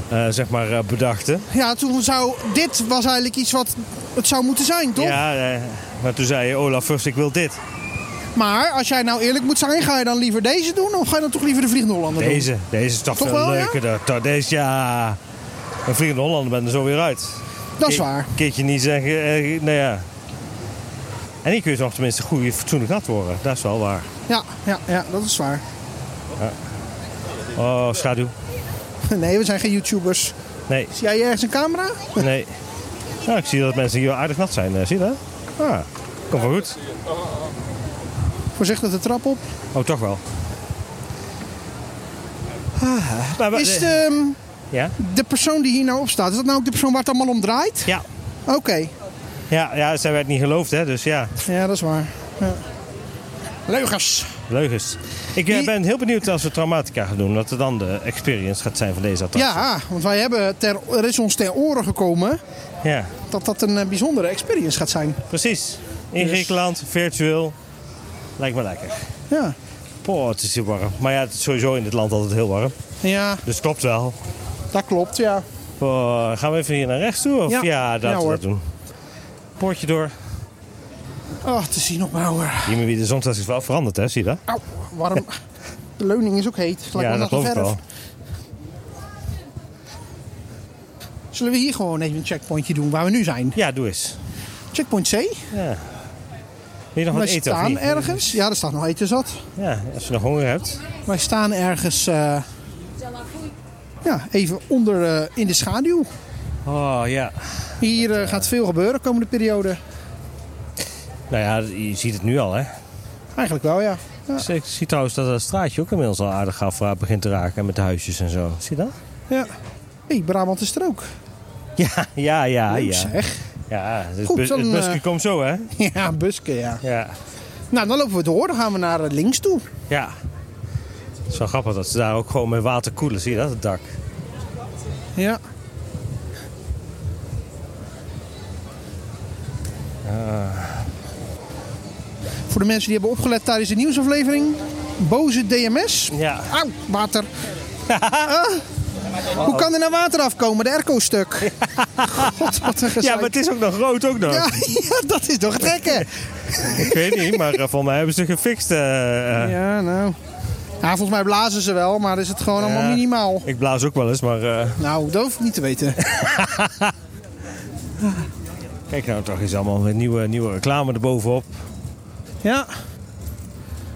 B: eh, zeg maar, eh, bedachten.
A: Ja, toen zou... Dit was eigenlijk iets wat het zou moeten zijn, toch?
B: Ja, eh, maar toen zei je, Olaf First, ik wil dit.
A: Maar als jij nou eerlijk moet zijn, ga je dan liever deze doen? Of ga je dan toch liever de Vliegende Hollander doen?
B: Deze, deze is toch,
A: Toch
B: veel
A: wel, ja?
B: leuker. Ja? deze, ja. Een Vliegende Hollander ben er zo weer uit.
A: Dat is
B: Ke-
A: waar.
B: Keertje niet zeggen, eh, nou ja. En ik kun nog tenminste goed fatsoenlijk nat worden. Dat is wel waar.
A: Ja, ja, ja, dat is waar.
B: Oh, schaduw.
A: Nee, we zijn geen YouTubers.
B: Nee.
A: Zie jij ergens een camera?
B: Nee. Nou, ik zie dat mensen hier aardig nat zijn. eh, Zie je dat? Ah, komt wel goed.
A: Voorzichtig de trap op.
B: Oh, toch wel. Ah, maar- maar-
A: Is de, ehm,
B: Ja?
A: de persoon die hier nou op staat, is dat nou ook de persoon waar het allemaal om draait?
B: Ja.
A: Oké.
B: Ja, ja, zij werd niet geloofd, hè. Dus ja,
A: Ja, dat is waar. Ja. Leugens.
B: leugens. Ik eh,
A: Die-
B: ben heel benieuwd als we Traumatica gaan doen. Wat er dan de experience gaat zijn van deze attractie.
A: Ja, want wij hebben ter, er is ons ter oren gekomen
B: Ja,
A: dat dat een eh, bijzondere experience gaat zijn.
B: precies. In
A: Dus-
B: Griekenland, virtueel. Lijkt me lekker.
A: Ja.
B: Poh, het is heel warm. Maar ja, het is sowieso in dit land altijd heel warm.
A: Ja,
B: Dus klopt wel.
A: dat klopt, ja.
B: Oh, gaan we even hier naar rechts toe? Of?
A: Ja.
B: Ja. dat
A: Ja,
B: we
A: hoor.
B: dat doen. Poortje door.
A: Oh, het is hier nog bouwer.
B: Hier maar wie de zon staat is wel veranderd, hè? Zie je dat?
A: Auw, warm. De leuning is ook heet. Het Lijkt wel
B: dat
A: natte verf. Zullen we hier gewoon even een checkpointje doen waar we nu zijn?
B: Ja, doe eens.
A: Checkpoint C.
B: Ja. Wil je
A: Wij
B: nog wat Oh, eten of
A: staan
B: niet?
A: ergens. Ja, er staat nog eten zat.
B: Ja, als je nog honger hebt.
A: Wij staan ergens eh, ja, even onder eh, in de schaduw.
B: Oh, ja.
A: Hier eh, gaat veel gebeuren komende periode.
B: Nou ja, je ziet het nu al, hè?
A: Eigenlijk wel, ja.
B: Dus ik zie trouwens dat dat straatje ook inmiddels al aardig af eh, begint te raken. En met de huisjes en zo. Zie je dat?
A: Ja. Hey, Brabant is er ook.
B: Ja, ja, Ah, ja.
A: Leuk
B: ja.
A: zeg.
B: ja het,
A: Goed,
B: bus-
A: dan,
B: het busje
A: eh,
B: komt zo, hè?
A: Ja, busken, ja.
B: Ja.
A: Nou, dan lopen we door. Dan gaan we naar eh, links toe.
B: ja. Het is wel grappig dat ze daar ook gewoon met water koelen. Zie je dat? Het dak.
A: Ja.
B: Ah.
A: Voor de mensen die hebben opgelet tijdens de nieuwsaflevering. Boze DMS.
B: Ja.
A: Auw, water. Ah. Hoe kan er nou water afkomen? De airco stuk. God, wat een gezeik.
B: Ja, maar het is ook nog rood ook nog.
A: Ja, ja, dat is toch trekken.
B: Ik weet niet, maar eh, volgens mij hebben ze gefixt. eh, eh.
A: Ja, nou. Ja, volgens mij blazen ze wel, maar is het gewoon allemaal
B: Ja.
A: minimaal.
B: Ik blaas ook wel eens, maar eh,
A: Nou, dat hoef ik niet te weten.
B: kijk nou toch eens allemaal met nieuwe, nieuwe reclame erbovenop.
A: Ja.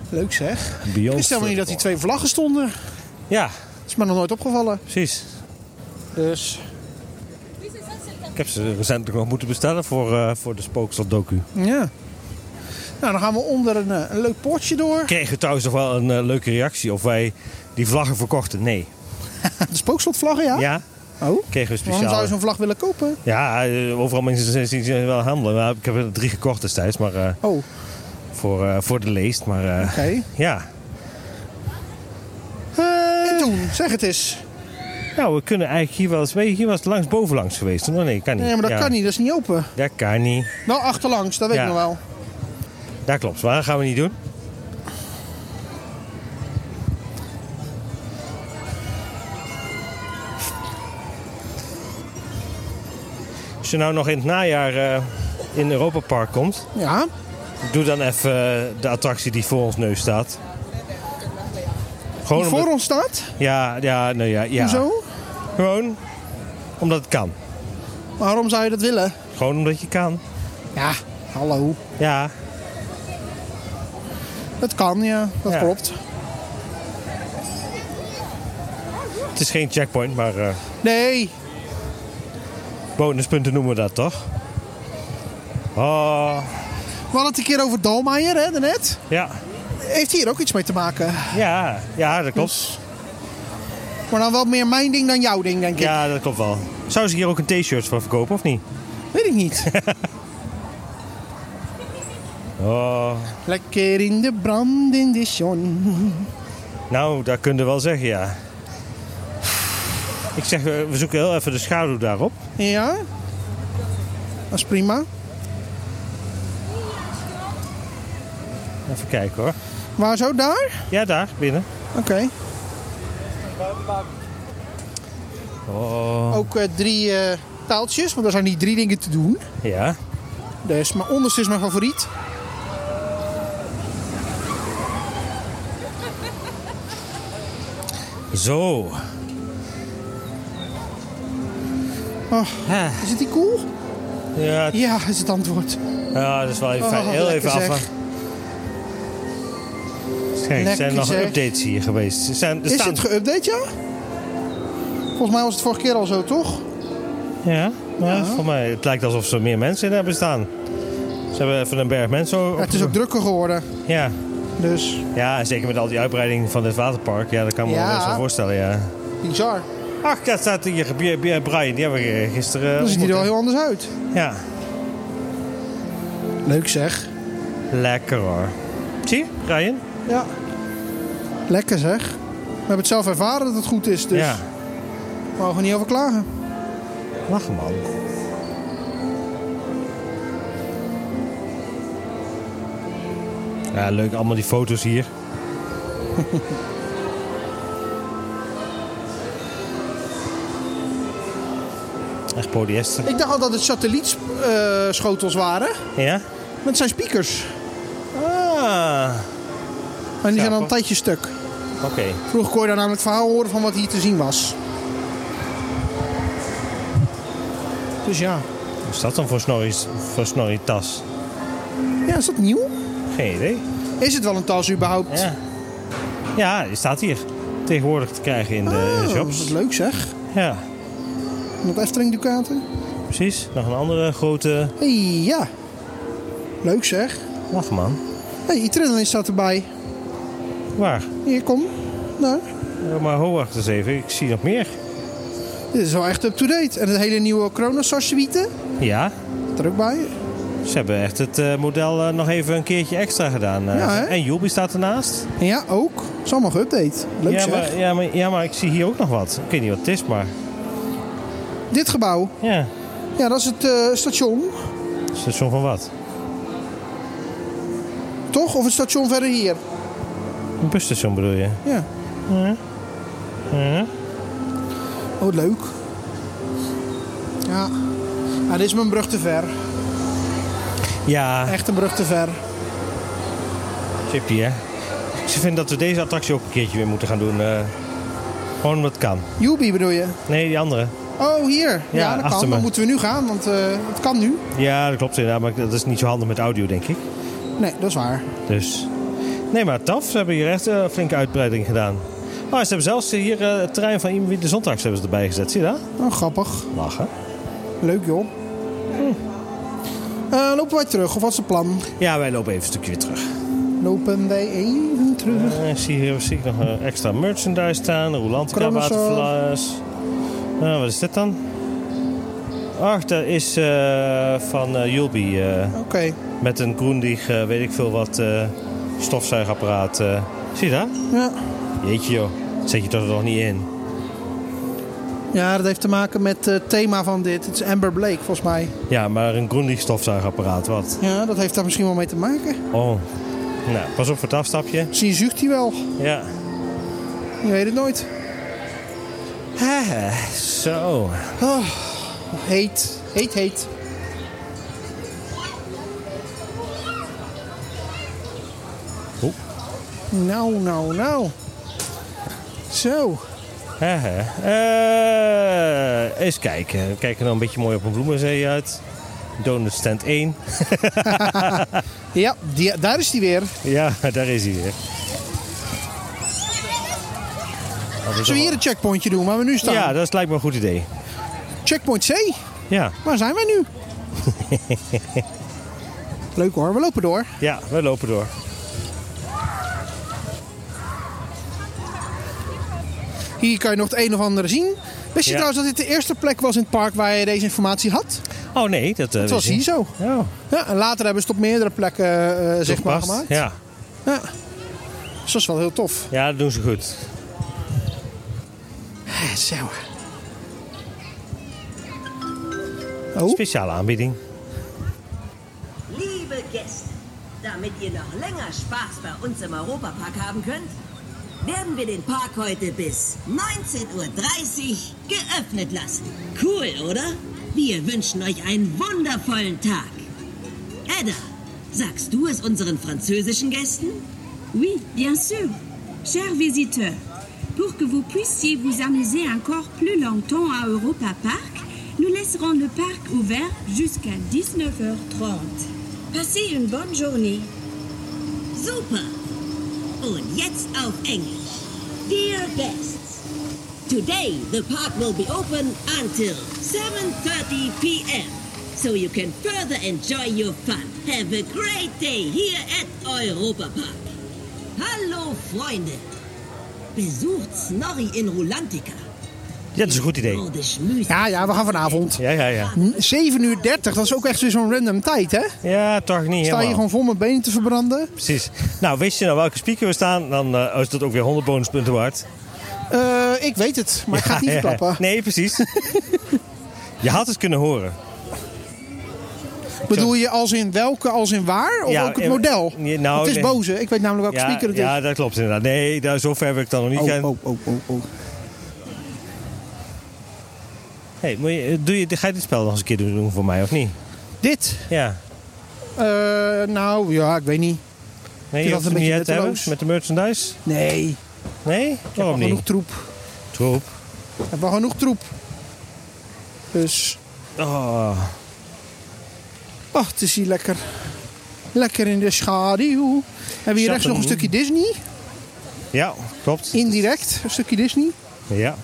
A: Leuk zeg.
B: Beyond.
A: Ik wist helemaal niet dat die twee vlaggen stonden.
B: Ja,
A: Is me nog nooit opgevallen.
B: precies.
A: Dus.
B: Ik heb ze recentelijk nog moeten bestellen voor, eh, voor de Spookseldocu. docu
A: Ja. Nou, dan gaan we onder een, eh, een leuk poortje door.
B: Kregen trouwens nog wel een eh, leuke reactie of wij die vlaggen verkochten. Nee.
A: De spookslotvlaggen, ja?
B: Ja,
A: Oh.
B: kregen
A: Waarom
B: we
A: zou je
B: speciaal.
A: zo'n vlag willen kopen?
B: Ja, eh, overal mensen zien ze wel handelen. Maar ik heb er drie gekocht destijds, maar eh,
A: Oh, oké.
B: voor, eh, voor de leest. Maar eh, ja. Eh.
A: En toen, zeg het eens.
B: Nou, we kunnen eigenlijk hier wel eens... Weet je, hier was het langs bovenlangs geweest. hoor. Nee, kan niet.
A: Nee, maar dat
B: Ja,
A: kan niet. Dat is niet open.
B: Dat kan niet.
A: Nou, achterlangs, dat weet
B: Ja.
A: ik nog wel.
B: Dat klopt. Maar dat gaan we niet doen. Als je nou nog in het najaar eh, in Europa Park komt,
A: Ja.
B: doe dan even eh, de attractie die voor ons neus staat. Gewoon
A: Die voor
B: omdat-
A: ons staat.
B: Ja, ja, nou ja, ja.
A: Hoezo?
B: Gewoon omdat het kan.
A: Waarom zou je dat willen?
B: Gewoon omdat je kan.
A: Ja, hallo.
B: Ja,
A: Dat kan, ja. Dat
B: Ja.
A: klopt.
B: het is geen checkpoint, maar eh,
A: Nee.
B: bonuspunten noemen we dat toch? Oh,
A: We hadden het een keer over Dalmeijer, hè, daarnet.
B: ja.
A: Heeft hier ook iets mee te maken?
B: Ja, ja, dat klopt.
A: Maar dan wel meer mijn ding dan jouw ding, denk ik.
B: Ja, dat klopt wel. Zou ze hier ook een t-shirt van verkopen of niet?
A: Weet ik niet.
B: Oh,
A: Lekker in de brand in de zon.
B: nou, dat kun je wel zeggen, ja. Ik zeg, eh, we zoeken heel even de schaduw daarop.
A: Ja? Dat is prima.
B: Even kijken hoor.
A: Waar zo? Daar?
B: Ja, daar, binnen.
A: Oké.
B: Oh.
A: Ook eh, drie eh, taaltjes, want er zijn niet drie dingen te doen.
B: Ja.
A: Dus mijn onderste is mijn favoriet.
B: Zo.
A: Oh,
B: Ja,
A: is het die cool?
B: ja,
A: Ja, is het antwoord.
B: dat is wel even fijn.
A: Oh,
B: Heel
A: lekker
B: even af.
A: zeg.
B: Kijk, er
A: Lekker
B: zijn nog
A: zeg.
B: updates hier geweest. Er zijn, er
A: Is
B: staan...
A: het geüpdate, ja? Volgens mij was het vorige keer al zo, toch?
B: Ja, maar voor mij, het lijkt alsof er meer mensen in hebben staan. Ze hebben even een berg mensen
A: Ja, het is ook drukker geworden.
B: Ja.
A: Dus
B: Ja, zeker met al die uitbreiding van dit waterpark. Ja, dat kan ik me
A: Ja.
B: wel eens wel voorstellen, ja.
A: bizar.
B: Ach, daar staat hier Bi- Bi- Brian. Die hebben we gisteren eh,
A: Dan ziet hij er wel
B: ontmoet,
A: heel anders uit.
B: hè. Ja,
A: Leuk zeg.
B: lekker hoor. Zie je, Brian?
A: Ja. Lekker zeg. We hebben het zelf ervaren dat het goed is, dus
B: Ja,
A: we mogen er niet over klagen.
B: lachen man. Ja, leuk. Allemaal die foto's hier. Echt polyester.
A: Ik dacht al dat het satellietschotels waren,
B: Ja?
A: maar het zijn speakers.
B: Ah,
A: En die zijn al een
B: Grappig.
A: tijdje stuk.
B: oké.
A: Vroeger kon je daar namelijk het verhaal horen van wat hier te zien was. Dus ja.
B: Wat is dat dan voor snorrie, voor snorrie tas?
A: Ja, is dat nieuw?
B: Geen idee.
A: Is het wel een tas überhaupt?
B: Ja. ja, die staat hier tegenwoordig te krijgen in de
A: Oh,
B: eh,
A: dat is
B: shops.
A: leuk zeg.
B: Ja,
A: Met Efteling Ducaten.
B: precies. Nog een andere grote
A: Hey, ja. Leuk zeg.
B: lachman.
A: Hey, Itrillen staat erbij.
B: Waar?
A: Hier, kom. Nou,
B: Ja, maar ho, wacht eens even. Ik zie nog meer.
A: dit is wel echt up-to-date. En het hele nieuwe Kronosar suite
B: Ja,
A: zit er ook bij.
B: ze hebben echt het eh, model eh, nog even een keertje extra gedaan. eh.
A: Ja, hè?
B: en Joby staat ernaast.
A: En ja, ook. Het is allemaal geüpdate. Leuk
B: ja,
A: zeg.
B: maar, ja, maar, ja, maar ik zie hier ook nog wat. Ik weet niet wat het is, maar...
A: Dit gebouw.
B: Ja,
A: Ja, dat is het eh, station.
B: station van wat?
A: Toch? Of het station verder hier?
B: Een busstation bedoel je?
A: Ja.
B: Ja.
A: Oh, leuk. Ja. Ja, dit is mijn brug te ver.
B: Ja,
A: Echt een brug te ver.
B: chippy hè. Ze vinden dat we deze attractie ook een keertje weer moeten gaan doen. eh. gewoon omdat het kan.
A: Joebie bedoel je?
B: Nee, die andere.
A: Oh, hier. Ja, dat
B: achter
A: kan.
B: me.
A: Dan moeten we nu gaan, want eh, het kan nu.
B: Ja, dat klopt inderdaad, maar dat is niet zo handig met audio, denk ik.
A: Nee, dat is waar.
B: Dus. Nee, maar taf, ze hebben hier echt eh, flinke uitbreiding gedaan. Oh, ze hebben zelfs hier eh, het terrein van Iemwit de Zondags hebben ze erbij gezet, zie je dat?
A: Nou, grappig.
B: Lachen.
A: Leuk, joh. Hm. Eh, lopen wij terug, of wat is het plan?
B: Ja, wij lopen even een stukje weer terug.
A: Lopen wij even terug.
B: Eh, ik zie hier zie ik nog eh, extra merchandise staan, een Rolantica
A: Kronosol.
B: waterflaas. Nou, wat is dit dan? Ach, dat is eh, van eh Julby. eh,
A: Oké.
B: met een Groendig, eh, weet ik veel wat, eh, stofzuigapparaat. eh. Zie je dat?
A: Ja.
B: Jeetje joh, dat zet je toch nog niet in.
A: ja, dat heeft te maken met het thema van dit. Het is Amber Blake, volgens mij.
B: Ja, maar een Grundig stofzuigapparaat, wat?
A: Ja, dat heeft daar misschien wel mee te maken.
B: Oh. Nou, pas op voor het afstapje.
A: Misschien zucht hij wel.
B: Ja.
A: Je weet het nooit.
B: Eh, Zo.
A: Oh, heet, heet, heet.
B: Oeh.
A: Nou, nou, nou. Zo.
B: Haha. Eh, eens kijken. We kijken nou een beetje mooi op een bloemenzee uit. Donut stand 1.
A: Ja, die- daar is die weer.
B: Ja, daar is hij weer. Oh, dat
A: Zullen we
B: is wel-
A: hier een checkpointje doen waar we nu staan?
B: Ja, dat lijkt me een goed idee.
A: Checkpoint C.
B: Ja,
A: Waar zijn wij nu? Leuk hoor, we lopen door.
B: ja we lopen door.
A: Hier kan je nog het een of andere zien. Wist je
B: Ja.
A: trouwens dat dit de eerste plek was in het park waar je deze informatie had?
B: Oh nee, dat eh,
A: Het was
B: wist ik
A: hier
B: niet.
A: zo.
B: Oh,
A: Ja, en later hebben ze het op meerdere plekken eh, zeg maar
B: toegepast.
A: gemaakt.
B: Ja.
A: Ja. Dus dat is wel heel tof.
B: ja, dat doen ze goed.
A: Eh, Zo. Oh,
B: Speciale aanbieding.
C: Liebe Gäste, damit ihr noch länger Spaß bei uns im Europapark haben könnt, werden wir den Park heute bis 19.30 Uhr geöffnet lassen. Cool, oder? Wir wünschen euch einen wundervollen Tag. Edda, sagst du es unseren französischen Gästen?
D: Oui, bien sûr. Chers visiteurs, pour que vous puissiez vous amuser encore plus longtemps à Europa Park, nous laisserons le parc ouvert jusqu'à 19h30. Passez une bonne journée.
C: Super! Und jetzt auf Englisch. Dear guests, today the park will be open until 7:30 p.m. So you can further enjoy your fun. Have a great day here at Europa Park. Hallo Freunde. Besucht Snorri in Rulantica.
B: Ja, dat is een goed idee.
C: Nordisch Müsli.
A: ja, ja, we gaan vanavond.
B: Ja, ja, ja.
A: 7 uur 30, dat is ook echt weer zo'n random tijd, hè?
B: Ja, toch niet
A: Sta je
B: helemaal.
A: gewoon vol mijn benen te verbranden?
B: Precies. Nou, wist je nou welke speaker we staan, dan eh, is dat ook weer 100 bonuspunten waard.
A: Eh, ik weet het, maar ik ga het niet verklappen.
B: Nee, precies. je had het kunnen horen.
A: Bedoel je als in welke, als in waar? Of
B: Ja,
A: ook het
B: eh,
A: model?
B: nee, nou,
A: het is
B: nee.
A: boze. Ik weet namelijk welke
B: Ja,
A: speaker het
B: ja,
A: is.
B: dat klopt inderdaad. Nee, daar, zo ver wil ik dan nog niet gaan.
A: Oh, oh, oh, oh, oh.
B: Hey, moet je, eh, doe je, ga je dit spel nog eens een keer doen doen voor mij, of niet?
A: Dit?
B: Ja.
A: Eh, nou, ja, ik weet niet.
B: Nee,
A: Ik vind dat
B: je hoeft
A: een
B: het niet
A: beetje
B: uit te hebben
A: nutteloos.
B: met de merchandise?
A: Nee,
B: Nee?
A: al
B: Waarom
A: genoeg
B: niet?
A: troep.
B: Troep.
A: We hebben al genoeg troep. Dus,
B: Oh,
A: ach, het is hier lekker. Lekker in de schaduw. Hebben we hier rechts nog een stukje Disney?
B: ja, klopt.
A: Indirect, een stukje Disney.
B: Ja.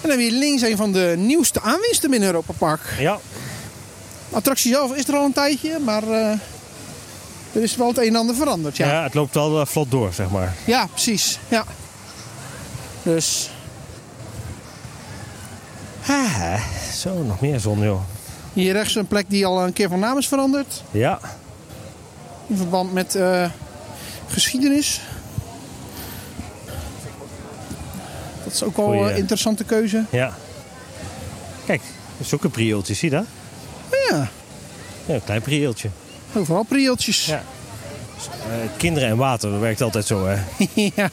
A: En dan weer links een van de nieuwste aanwinsten binnen Europa Park.
B: Ja,
A: De attractie zelf is er al een tijdje, maar eh, er is wel het een en ander veranderd.
B: ja.
A: Ja, ja.
B: het loopt wel eh, vlot door, zeg maar.
A: precies. Ja. Dus
B: Ah, zo, nog meer zon, joh.
A: hier rechts een plek die al een keer van naam is veranderd.
B: Ja,
A: In verband met eh, geschiedenis. Dat is ook wel
B: Goeie.
A: een interessante keuze.
B: ja. Kijk, dat is ook een prieeltje, zie je dat?
A: Ja,
B: Ja, een klein prieeltje.
A: overal prieltjes.
B: Ja. Eh, kinderen en water, dat werkt altijd zo, hè.
A: ja.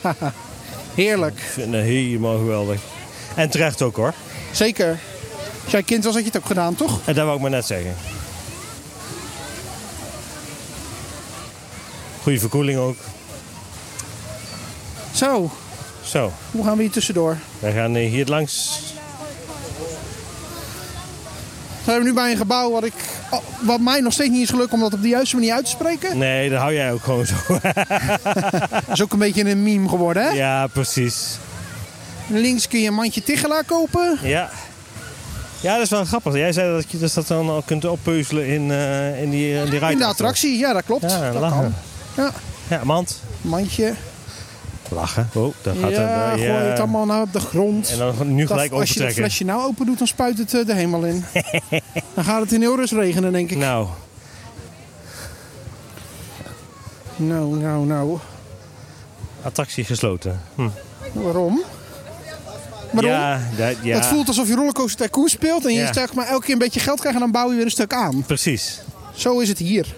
A: Heerlijk.
B: Ik vind het helemaal geweldig. En terecht ook, hoor.
A: Zeker. Als jij kind was, had je het ook gedaan, toch?
B: En dat wou ik maar net zeggen. Goede verkoeling ook.
A: Zo,
B: Zo,
A: hoe gaan we hier tussendoor?
B: wij gaan eh, hier langs.
A: Zijn we nu bij een gebouw wat, ik, oh, wat mij nog steeds niet is gelukt om dat op de juiste manier uit te spreken?
B: Nee, dat hou jij ook gewoon zo.
A: Dat is ook een beetje een meme geworden, hè?
B: ja, precies.
A: Links kun je een mandje Tigelaar kopen.
B: Ja. Ja, dat is wel grappig. Jij zei dat je dus dat dan al kunt oppeuzelen in, eh, in die, in die
A: In de
B: rijkast.
A: attractie, ja, dat klopt.
B: Ja,
A: dat
B: lachen.
A: kan. Ja,
B: Ja, mand.
A: mandje.
B: Lachen. Oh, dat gaat
A: ja,
B: er.
A: gooi het allemaal naar de grond.
B: En dan nu
A: Dat-
B: gelijk
A: als je dat
B: overtrekken.
A: flesje nou open doet, dan spuit het eh, de hemel in. dan gaat het in heel rust regenen, denk ik.
B: Nou,
A: Nou, nou, nou.
B: attractie gesloten. Hm.
A: Waarom? Waarom?
B: Ja, dat, ja.
A: Het voelt alsof je Rollercoaster Tycoon speelt en je
B: Ja.
A: zegt maar elke keer een beetje geld krijgt en dan bouw je weer een stuk aan.
B: Precies.
A: Zo is het hier.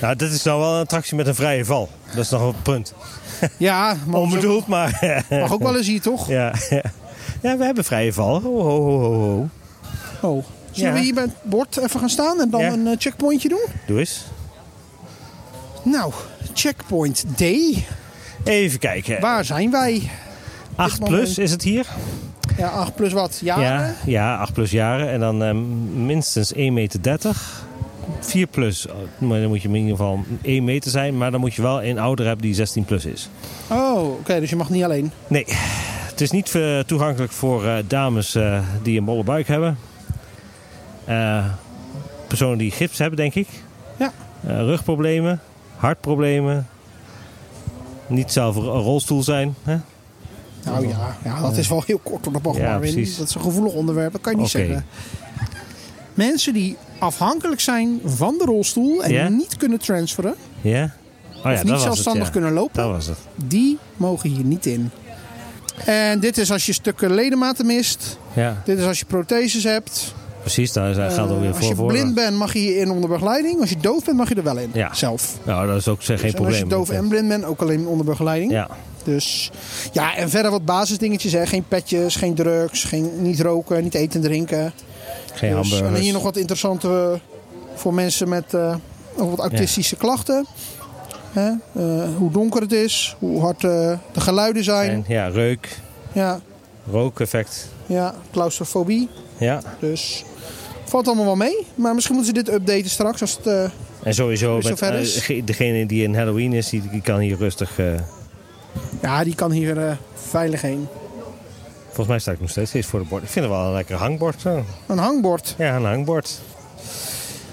B: Nou, dit is nou wel een attractie met een vrije val. Dat is nog wel een punt.
A: Ja, maar
B: Onbedoeld, maar...
A: mag ook wel eens hier, toch?
B: ja. ja, we hebben vrije val. Ho, ho, ho, ho, ho.
A: Oh. Zullen we
B: Ja.
A: hier bij het bord even gaan staan en dan
B: Ja.
A: een eh, checkpointje doen?
B: Doe eens.
A: Nou, checkpoint D.
B: Even kijken.
A: Waar zijn wij?
B: 8 plus is het hier?
A: Ja, 8 plus wat? Jaren?
B: Ja, ja, 8 plus jaren. En dan eh, minstens 1,30 meter. 4 plus, oh, maar dan moet je in ieder geval 1 meter zijn. Maar dan moet je wel een ouder hebben die 16 plus is.
A: Oh, oké, dus je mag niet alleen.
B: Nee, het is niet eh, toegankelijk voor eh, dames eh, die een bolle buik hebben. Eh, personen die gips hebben, denk ik.
A: Ja.
B: Eh, rugproblemen, hartproblemen. Niet zelf een rolstoel zijn. Hè?
A: Nou ja, ja dat is wel heel kort op de bocht.
B: Ja,
A: maar weer niet.
B: precies.
A: Dat is een gevoelig onderwerp, dat kan je niet
B: Oké.
A: zeggen. Mensen die afhankelijk zijn van de rolstoel en
B: Ja?
A: niet kunnen transferen,
B: Ja? Oh ja,
A: of niet zelfstandig
B: het, ja.
A: kunnen lopen,
B: Dat was het.
A: die mogen hier niet in. En dit is als je stukken ledematen mist.
B: Ja,
A: Dit is als je protheses hebt.
B: precies. Daar daar gaat
A: Eh,
B: alweer
A: als je
B: voor. voor.
A: blind bent mag je hierin onder begeleiding. Als je doof bent mag je er wel in.
B: Ja.
A: Zelf.
B: Nou, dat is ook zeg, geen
A: en als je
B: probleem.
A: doof en blind bent ook alleen onder begeleiding.
B: Ja,
A: Dus ja, en verder wat basisdingetjes. Hè. Geen petjes, geen drugs, geen, niet roken, niet eten en drinken.
B: geen
A: Dus, en
B: hamburgers.
A: hier nog wat interessante eh, voor mensen met eh, nog wat autistische klachten. Hè? eh, hoe donker het is, hoe hard eh, de geluiden zijn.
B: En, ja, reuk,
A: Ja,
B: rookeffect.
A: ja, claustrofobie.
B: Ja,
A: Dus valt allemaal wel mee. Maar misschien moeten ze dit updaten straks. Als het, eh,
B: en sowieso
A: Als het
B: met,
A: zover dus?
B: eh,
A: is.
B: ge- degene die in Halloween is, die, die kan hier rustig... eh,
A: ja, die kan hier eh, veilig heen.
B: volgens mij sta ik nog steeds steeds voor het bord. Ik vind het wel een lekker hangbord. Zo.
A: Een hangbord.
B: Ja, een hangbord.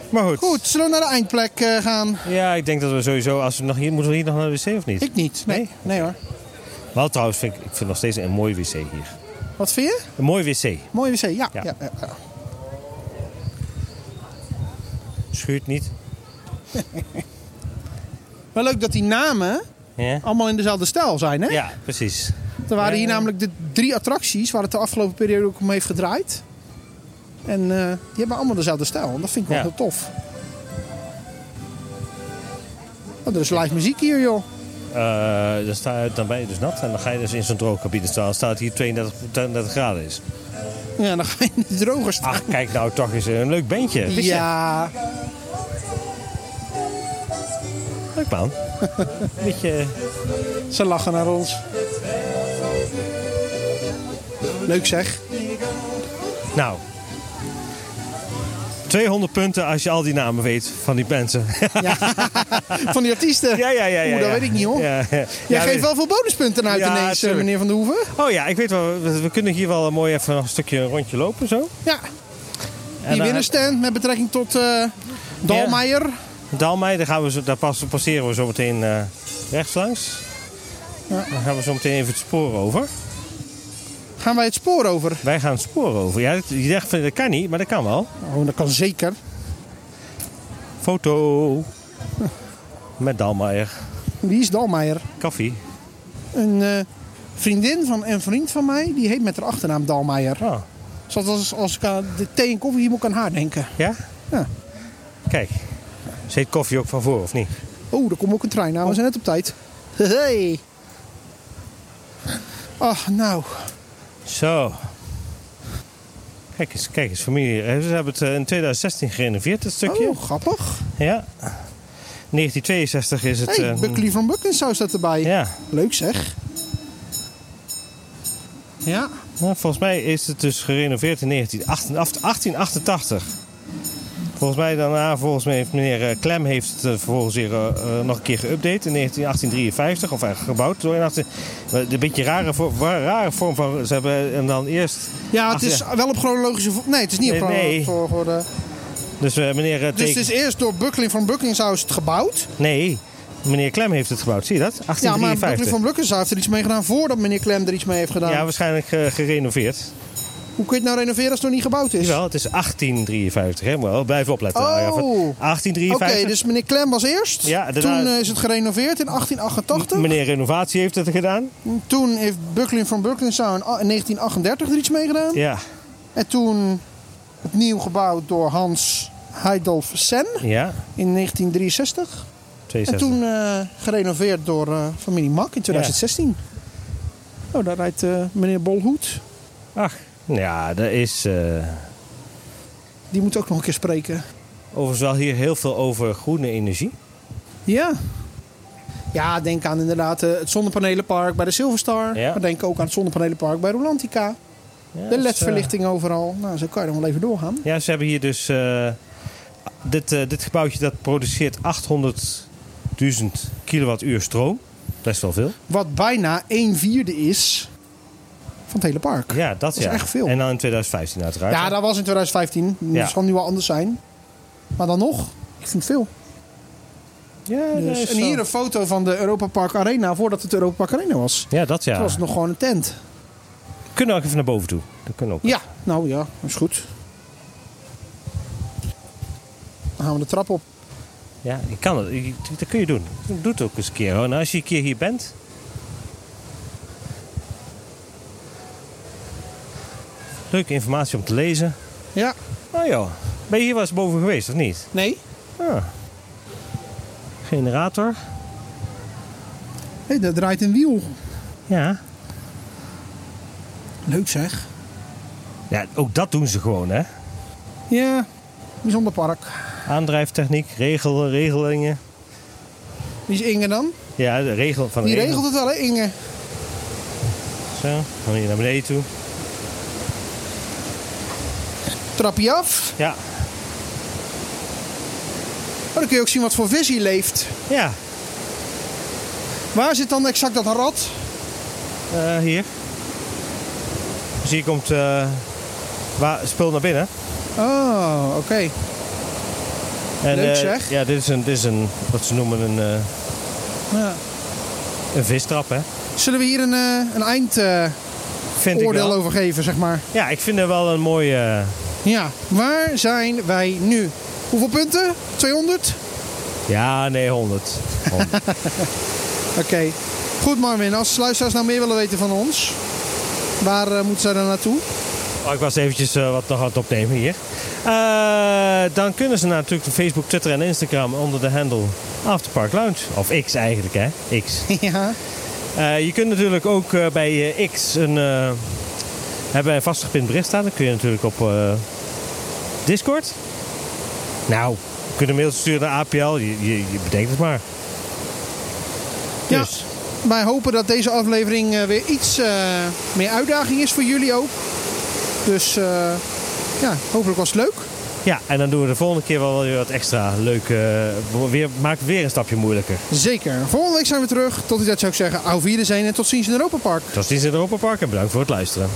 B: Maar goed.
A: Goed, zullen we naar de eindplek eh, gaan?
B: Ja, ik denk dat we sowieso... Als we nog hier, moeten we hier nog naar de wc of niet?
A: Ik niet. Nee,
B: Nee?
A: nee hoor.
B: Wel trouwens, vind ik, ik vind nog steeds een mooi wc hier.
A: Wat vind je?
B: Een mooi wc.
A: Mooi wc, ja. ja.
B: Ja.
A: ja, ja.
B: Schuurt niet.
A: Wel leuk dat die namen
B: Ja,
A: allemaal in dezelfde stijl zijn, hè?
B: ja precies.
A: Er waren hier
B: Ja, ja.
A: namelijk de drie attracties waar het de afgelopen periode ook om heeft gedraaid. En eh, die hebben allemaal dezelfde stijl. En dat vind ik wel
B: Ja.
A: heel tof. Oh, er is live muziek hier, joh.
B: Eh, dan, sta je, dan ben je dus nat en dan ga je dus in zo'n droogkabine staan. Dan staat hier 32, 32 graden is.
A: Ja, dan ga je in de droger staan.
B: Ach, kijk nou, toch is een leuk bandje. Wist je?
A: ja,
B: Leuk man. Beetje...
A: ze lachen naar ons. Leuk zeg.
B: Nou. 200 punten als je al die namen weet van die mensen.
A: Ja. van die artiesten.
B: Ja, ja, ja. ja
A: Oeh, dat
B: ja.
A: weet ik niet hoor.
B: Ja, ja.
A: Jij
B: Ja,
A: geeft
B: weet-
A: wel veel bonuspunten uit
B: Ja,
A: ineens, eh,
B: tuurlijk.
A: meneer Van der Hoeven.
B: Oh ja, ik weet wel. We, we kunnen hier wel mooi even een stukje een rondje lopen zo.
A: Ja.
B: En eh,
A: Die
B: dan-
A: winnenstand met betrekking tot eh Dalmeijer.
B: Dalmei, daar, gaan we zo, daar pas, passeren we zo meteen eh, rechts langs. Dan gaan we zo meteen even het spoor over.
A: Gaan wij het spoor over?
B: Wij gaan het spoor over. Ja, dat- je dacht van dat kan niet, maar dat kan wel.
A: Oh, dat kan zeker.
B: Foto. Met Dalmeijer.
A: Wie is Dalmeijer?
B: Koffie.
A: Een eh, vriendin van een vriend van mij, die heet met haar achternaam Dalmeijer.
B: Oh,
A: Zoals als, als ik aan de thee en koffie hier moet ik aan haar denken.
B: ja?
A: Ja.
B: Kijk. Ze heet koffie ook van voor, of niet?
A: Oh, er komt ook een trein aan. We zijn net op tijd. Hey. Ach, nou.
B: Zo. Kijk eens, kijk eens, familie. Eh, Ze hebben het eh, in 2016 gerenoveerd, het stukje.
A: Oh, grappig.
B: Ja. 1962 is het.
A: Hey,
B: eh,
A: Buckley van Buckensaus staat erbij.
B: ja.
A: Leuk zeg. Ja.
B: Nou, volgens mij is het dus gerenoveerd in 1988 1888. Volgens mij daarna, volgens mij heeft meneer eh, Klem heeft het eh, vervolgens weer eh, eh, nog een keer geüpdate in 1853. Of eigenlijk gebouwd door in 18 maar Een beetje rare, vo- wa- rare vorm van... Ze hebben hem dan eerst...
A: Ja, het
B: Ach,
A: is wel op chronologische... vo- Nee, het is niet op
B: Nee, nee.
A: chronologische volgorde.
B: Dus eh, meneer... eh,
A: Dus
B: Teken-
A: eh, het is eerst door Buckley van Buckensaus gebouwd.
B: Nee, meneer Klem heeft het gebouwd. Zie je dat?
A: Ja, maar
B: 1853.
A: Buckley van Buckensaus heeft er iets mee gedaan voordat meneer Klem er iets mee heeft gedaan.
B: Ja, waarschijnlijk eh, gerenoveerd.
A: Hoe kun je het nou renoveren als het nog niet gebouwd is?
B: Jawel, het is 1853. Hè? Wel, blijf opletten. Nou
A: Oh.
B: Arjan.
A: Oké,
B: 1853.
A: dus meneer Klem was eerst.
B: Ja,
A: Toen
B: daarna-
A: eh, is het gerenoveerd in 1888.
B: Meneer Renovatie heeft het gedaan.
A: Toen heeft Buckley van Buckensaus in 1938 er iets mee gedaan.
B: Ja.
A: En toen opnieuw gebouwd door Hans Heidolf Sen
B: Ja.
A: in 1963. En
B: 62.
A: toen eh, gerenoveerd door eh, familie Mak in 2016. Oh, daar rijdt eh, meneer Bolhoed.
B: Ach, ja, er is eh,
A: Die moet ook nog een keer spreken.
B: overigens wel hier heel veel over groene energie.
A: Ja. Ja, denk aan inderdaad eh, het zonnepanelenpark bij de Silverstar.
B: Ja.
A: Maar denk ook aan het zonnepanelenpark bij Rolantica.
B: Ja,
A: De
B: dus,
A: ledverlichting overal. Nou, zo kan je dan wel even doorgaan.
B: eh, ja, ze hebben hier dus... eh, dit, eh, dit gebouwtje dat produceert 800.000 kilowattuur stroom. Best wel veel.
A: Wat bijna een vierde is van het hele park.
B: Ja, dat,
A: is
B: ja.
A: echt veel.
B: En dan in 2015 uiteraard.
A: Ja, dat was in 2015. Dat
B: Ja.
A: zal nu wel anders zijn. Maar dan nog, ik vind het veel.
B: ja, dat
A: Dus,
B: is
A: en
B: wel-
A: hier een foto van de Europa Park Arena voordat het Europa Park Arena was.
B: Ja, dat ja.
A: Toen was het nog gewoon een tent.
B: Kunnen we ook even naar boven toe. Dat kunnen ook.
A: Ja, nou ja, is goed. Dan gaan we de trap op.
B: Ja, je kan het. Je- Dat kun je doen. Doe het ook eens een keer. Hoor. Nou, als je een keer hier bent. Leuke informatie om te lezen.
A: Ja.
B: Nou ja, ben je hier wel eens boven geweest of niet?
A: Nee?
B: Ah. Generator.
A: Hé, daar draait een wiel.
B: Ja.
A: Leuk zeg.
B: Ja, ook dat doen ze gewoon, hè?
A: Ja, bijzonder park.
B: Aandrijftechniek, regel, regelingen.
A: Wie is Inge dan?
B: Ja, de regel van de
A: Die
B: regel.
A: regelt het wel, hè Inge?
B: Zo, dan hier naar beneden toe.
A: Trapje af.
B: Ja,
A: Oh, dan kun je ook zien wat voor vis hier leeft.
B: ja.
A: Waar zit dan exact dat rad?
B: Eh, hier. Dus hier komt eh, waar, spul naar binnen.
A: Oh, oké.
B: En,
A: Leuk,
B: eh,
A: zeg.
B: ja, dit is, een, dit is een, wat ze noemen een, eh,
A: Ja.
B: een vistrap, hè?
A: Zullen we hier een, eh, een eindoordeel
B: Vind ik wel.
A: over geven, zeg maar?
B: Ja, ik vind er wel een mooie... eh,
A: Ja. Waar zijn wij nu? Hoeveel punten? 200?
B: ja, nee, 100. 100.
A: Oké. Goed Marvin, als luisteraars nou meer willen weten van ons, waar eh, moeten zij dan naartoe?
B: Oh, ik was eventjes eh, wat nog aan het opnemen hier. Eh, dan kunnen ze naar natuurlijk op Facebook, Twitter en Instagram onder de handle Afterpark Lounge. Of X eigenlijk, hè? X.
A: ja.
B: Eh, je kunt natuurlijk ook eh, bij eh, X een, eh, hebben wij een vastgepind bericht staan. Dan kun je natuurlijk op eh, Discord. Nou, je kunt een mailtje sturen naar APL. Je, je, je bedenkt het maar.
A: Ja.
B: Dus,
A: Wij hopen dat deze aflevering eh, weer iets eh, meer uitdaging is voor jullie ook. Dus eh, ja, hopelijk was het leuk.
B: Ja, en dan doen we de volgende keer wel weer wat extra leuk. eh, weer, maakt het weer een stapje moeilijker.
A: Zeker. Volgende week zijn we terug. Tot die tijd zou ik zeggen, au vierde zijn en tot ziens in Europa Park.
B: Tot ziens in Europa Park en bedankt voor het luisteren.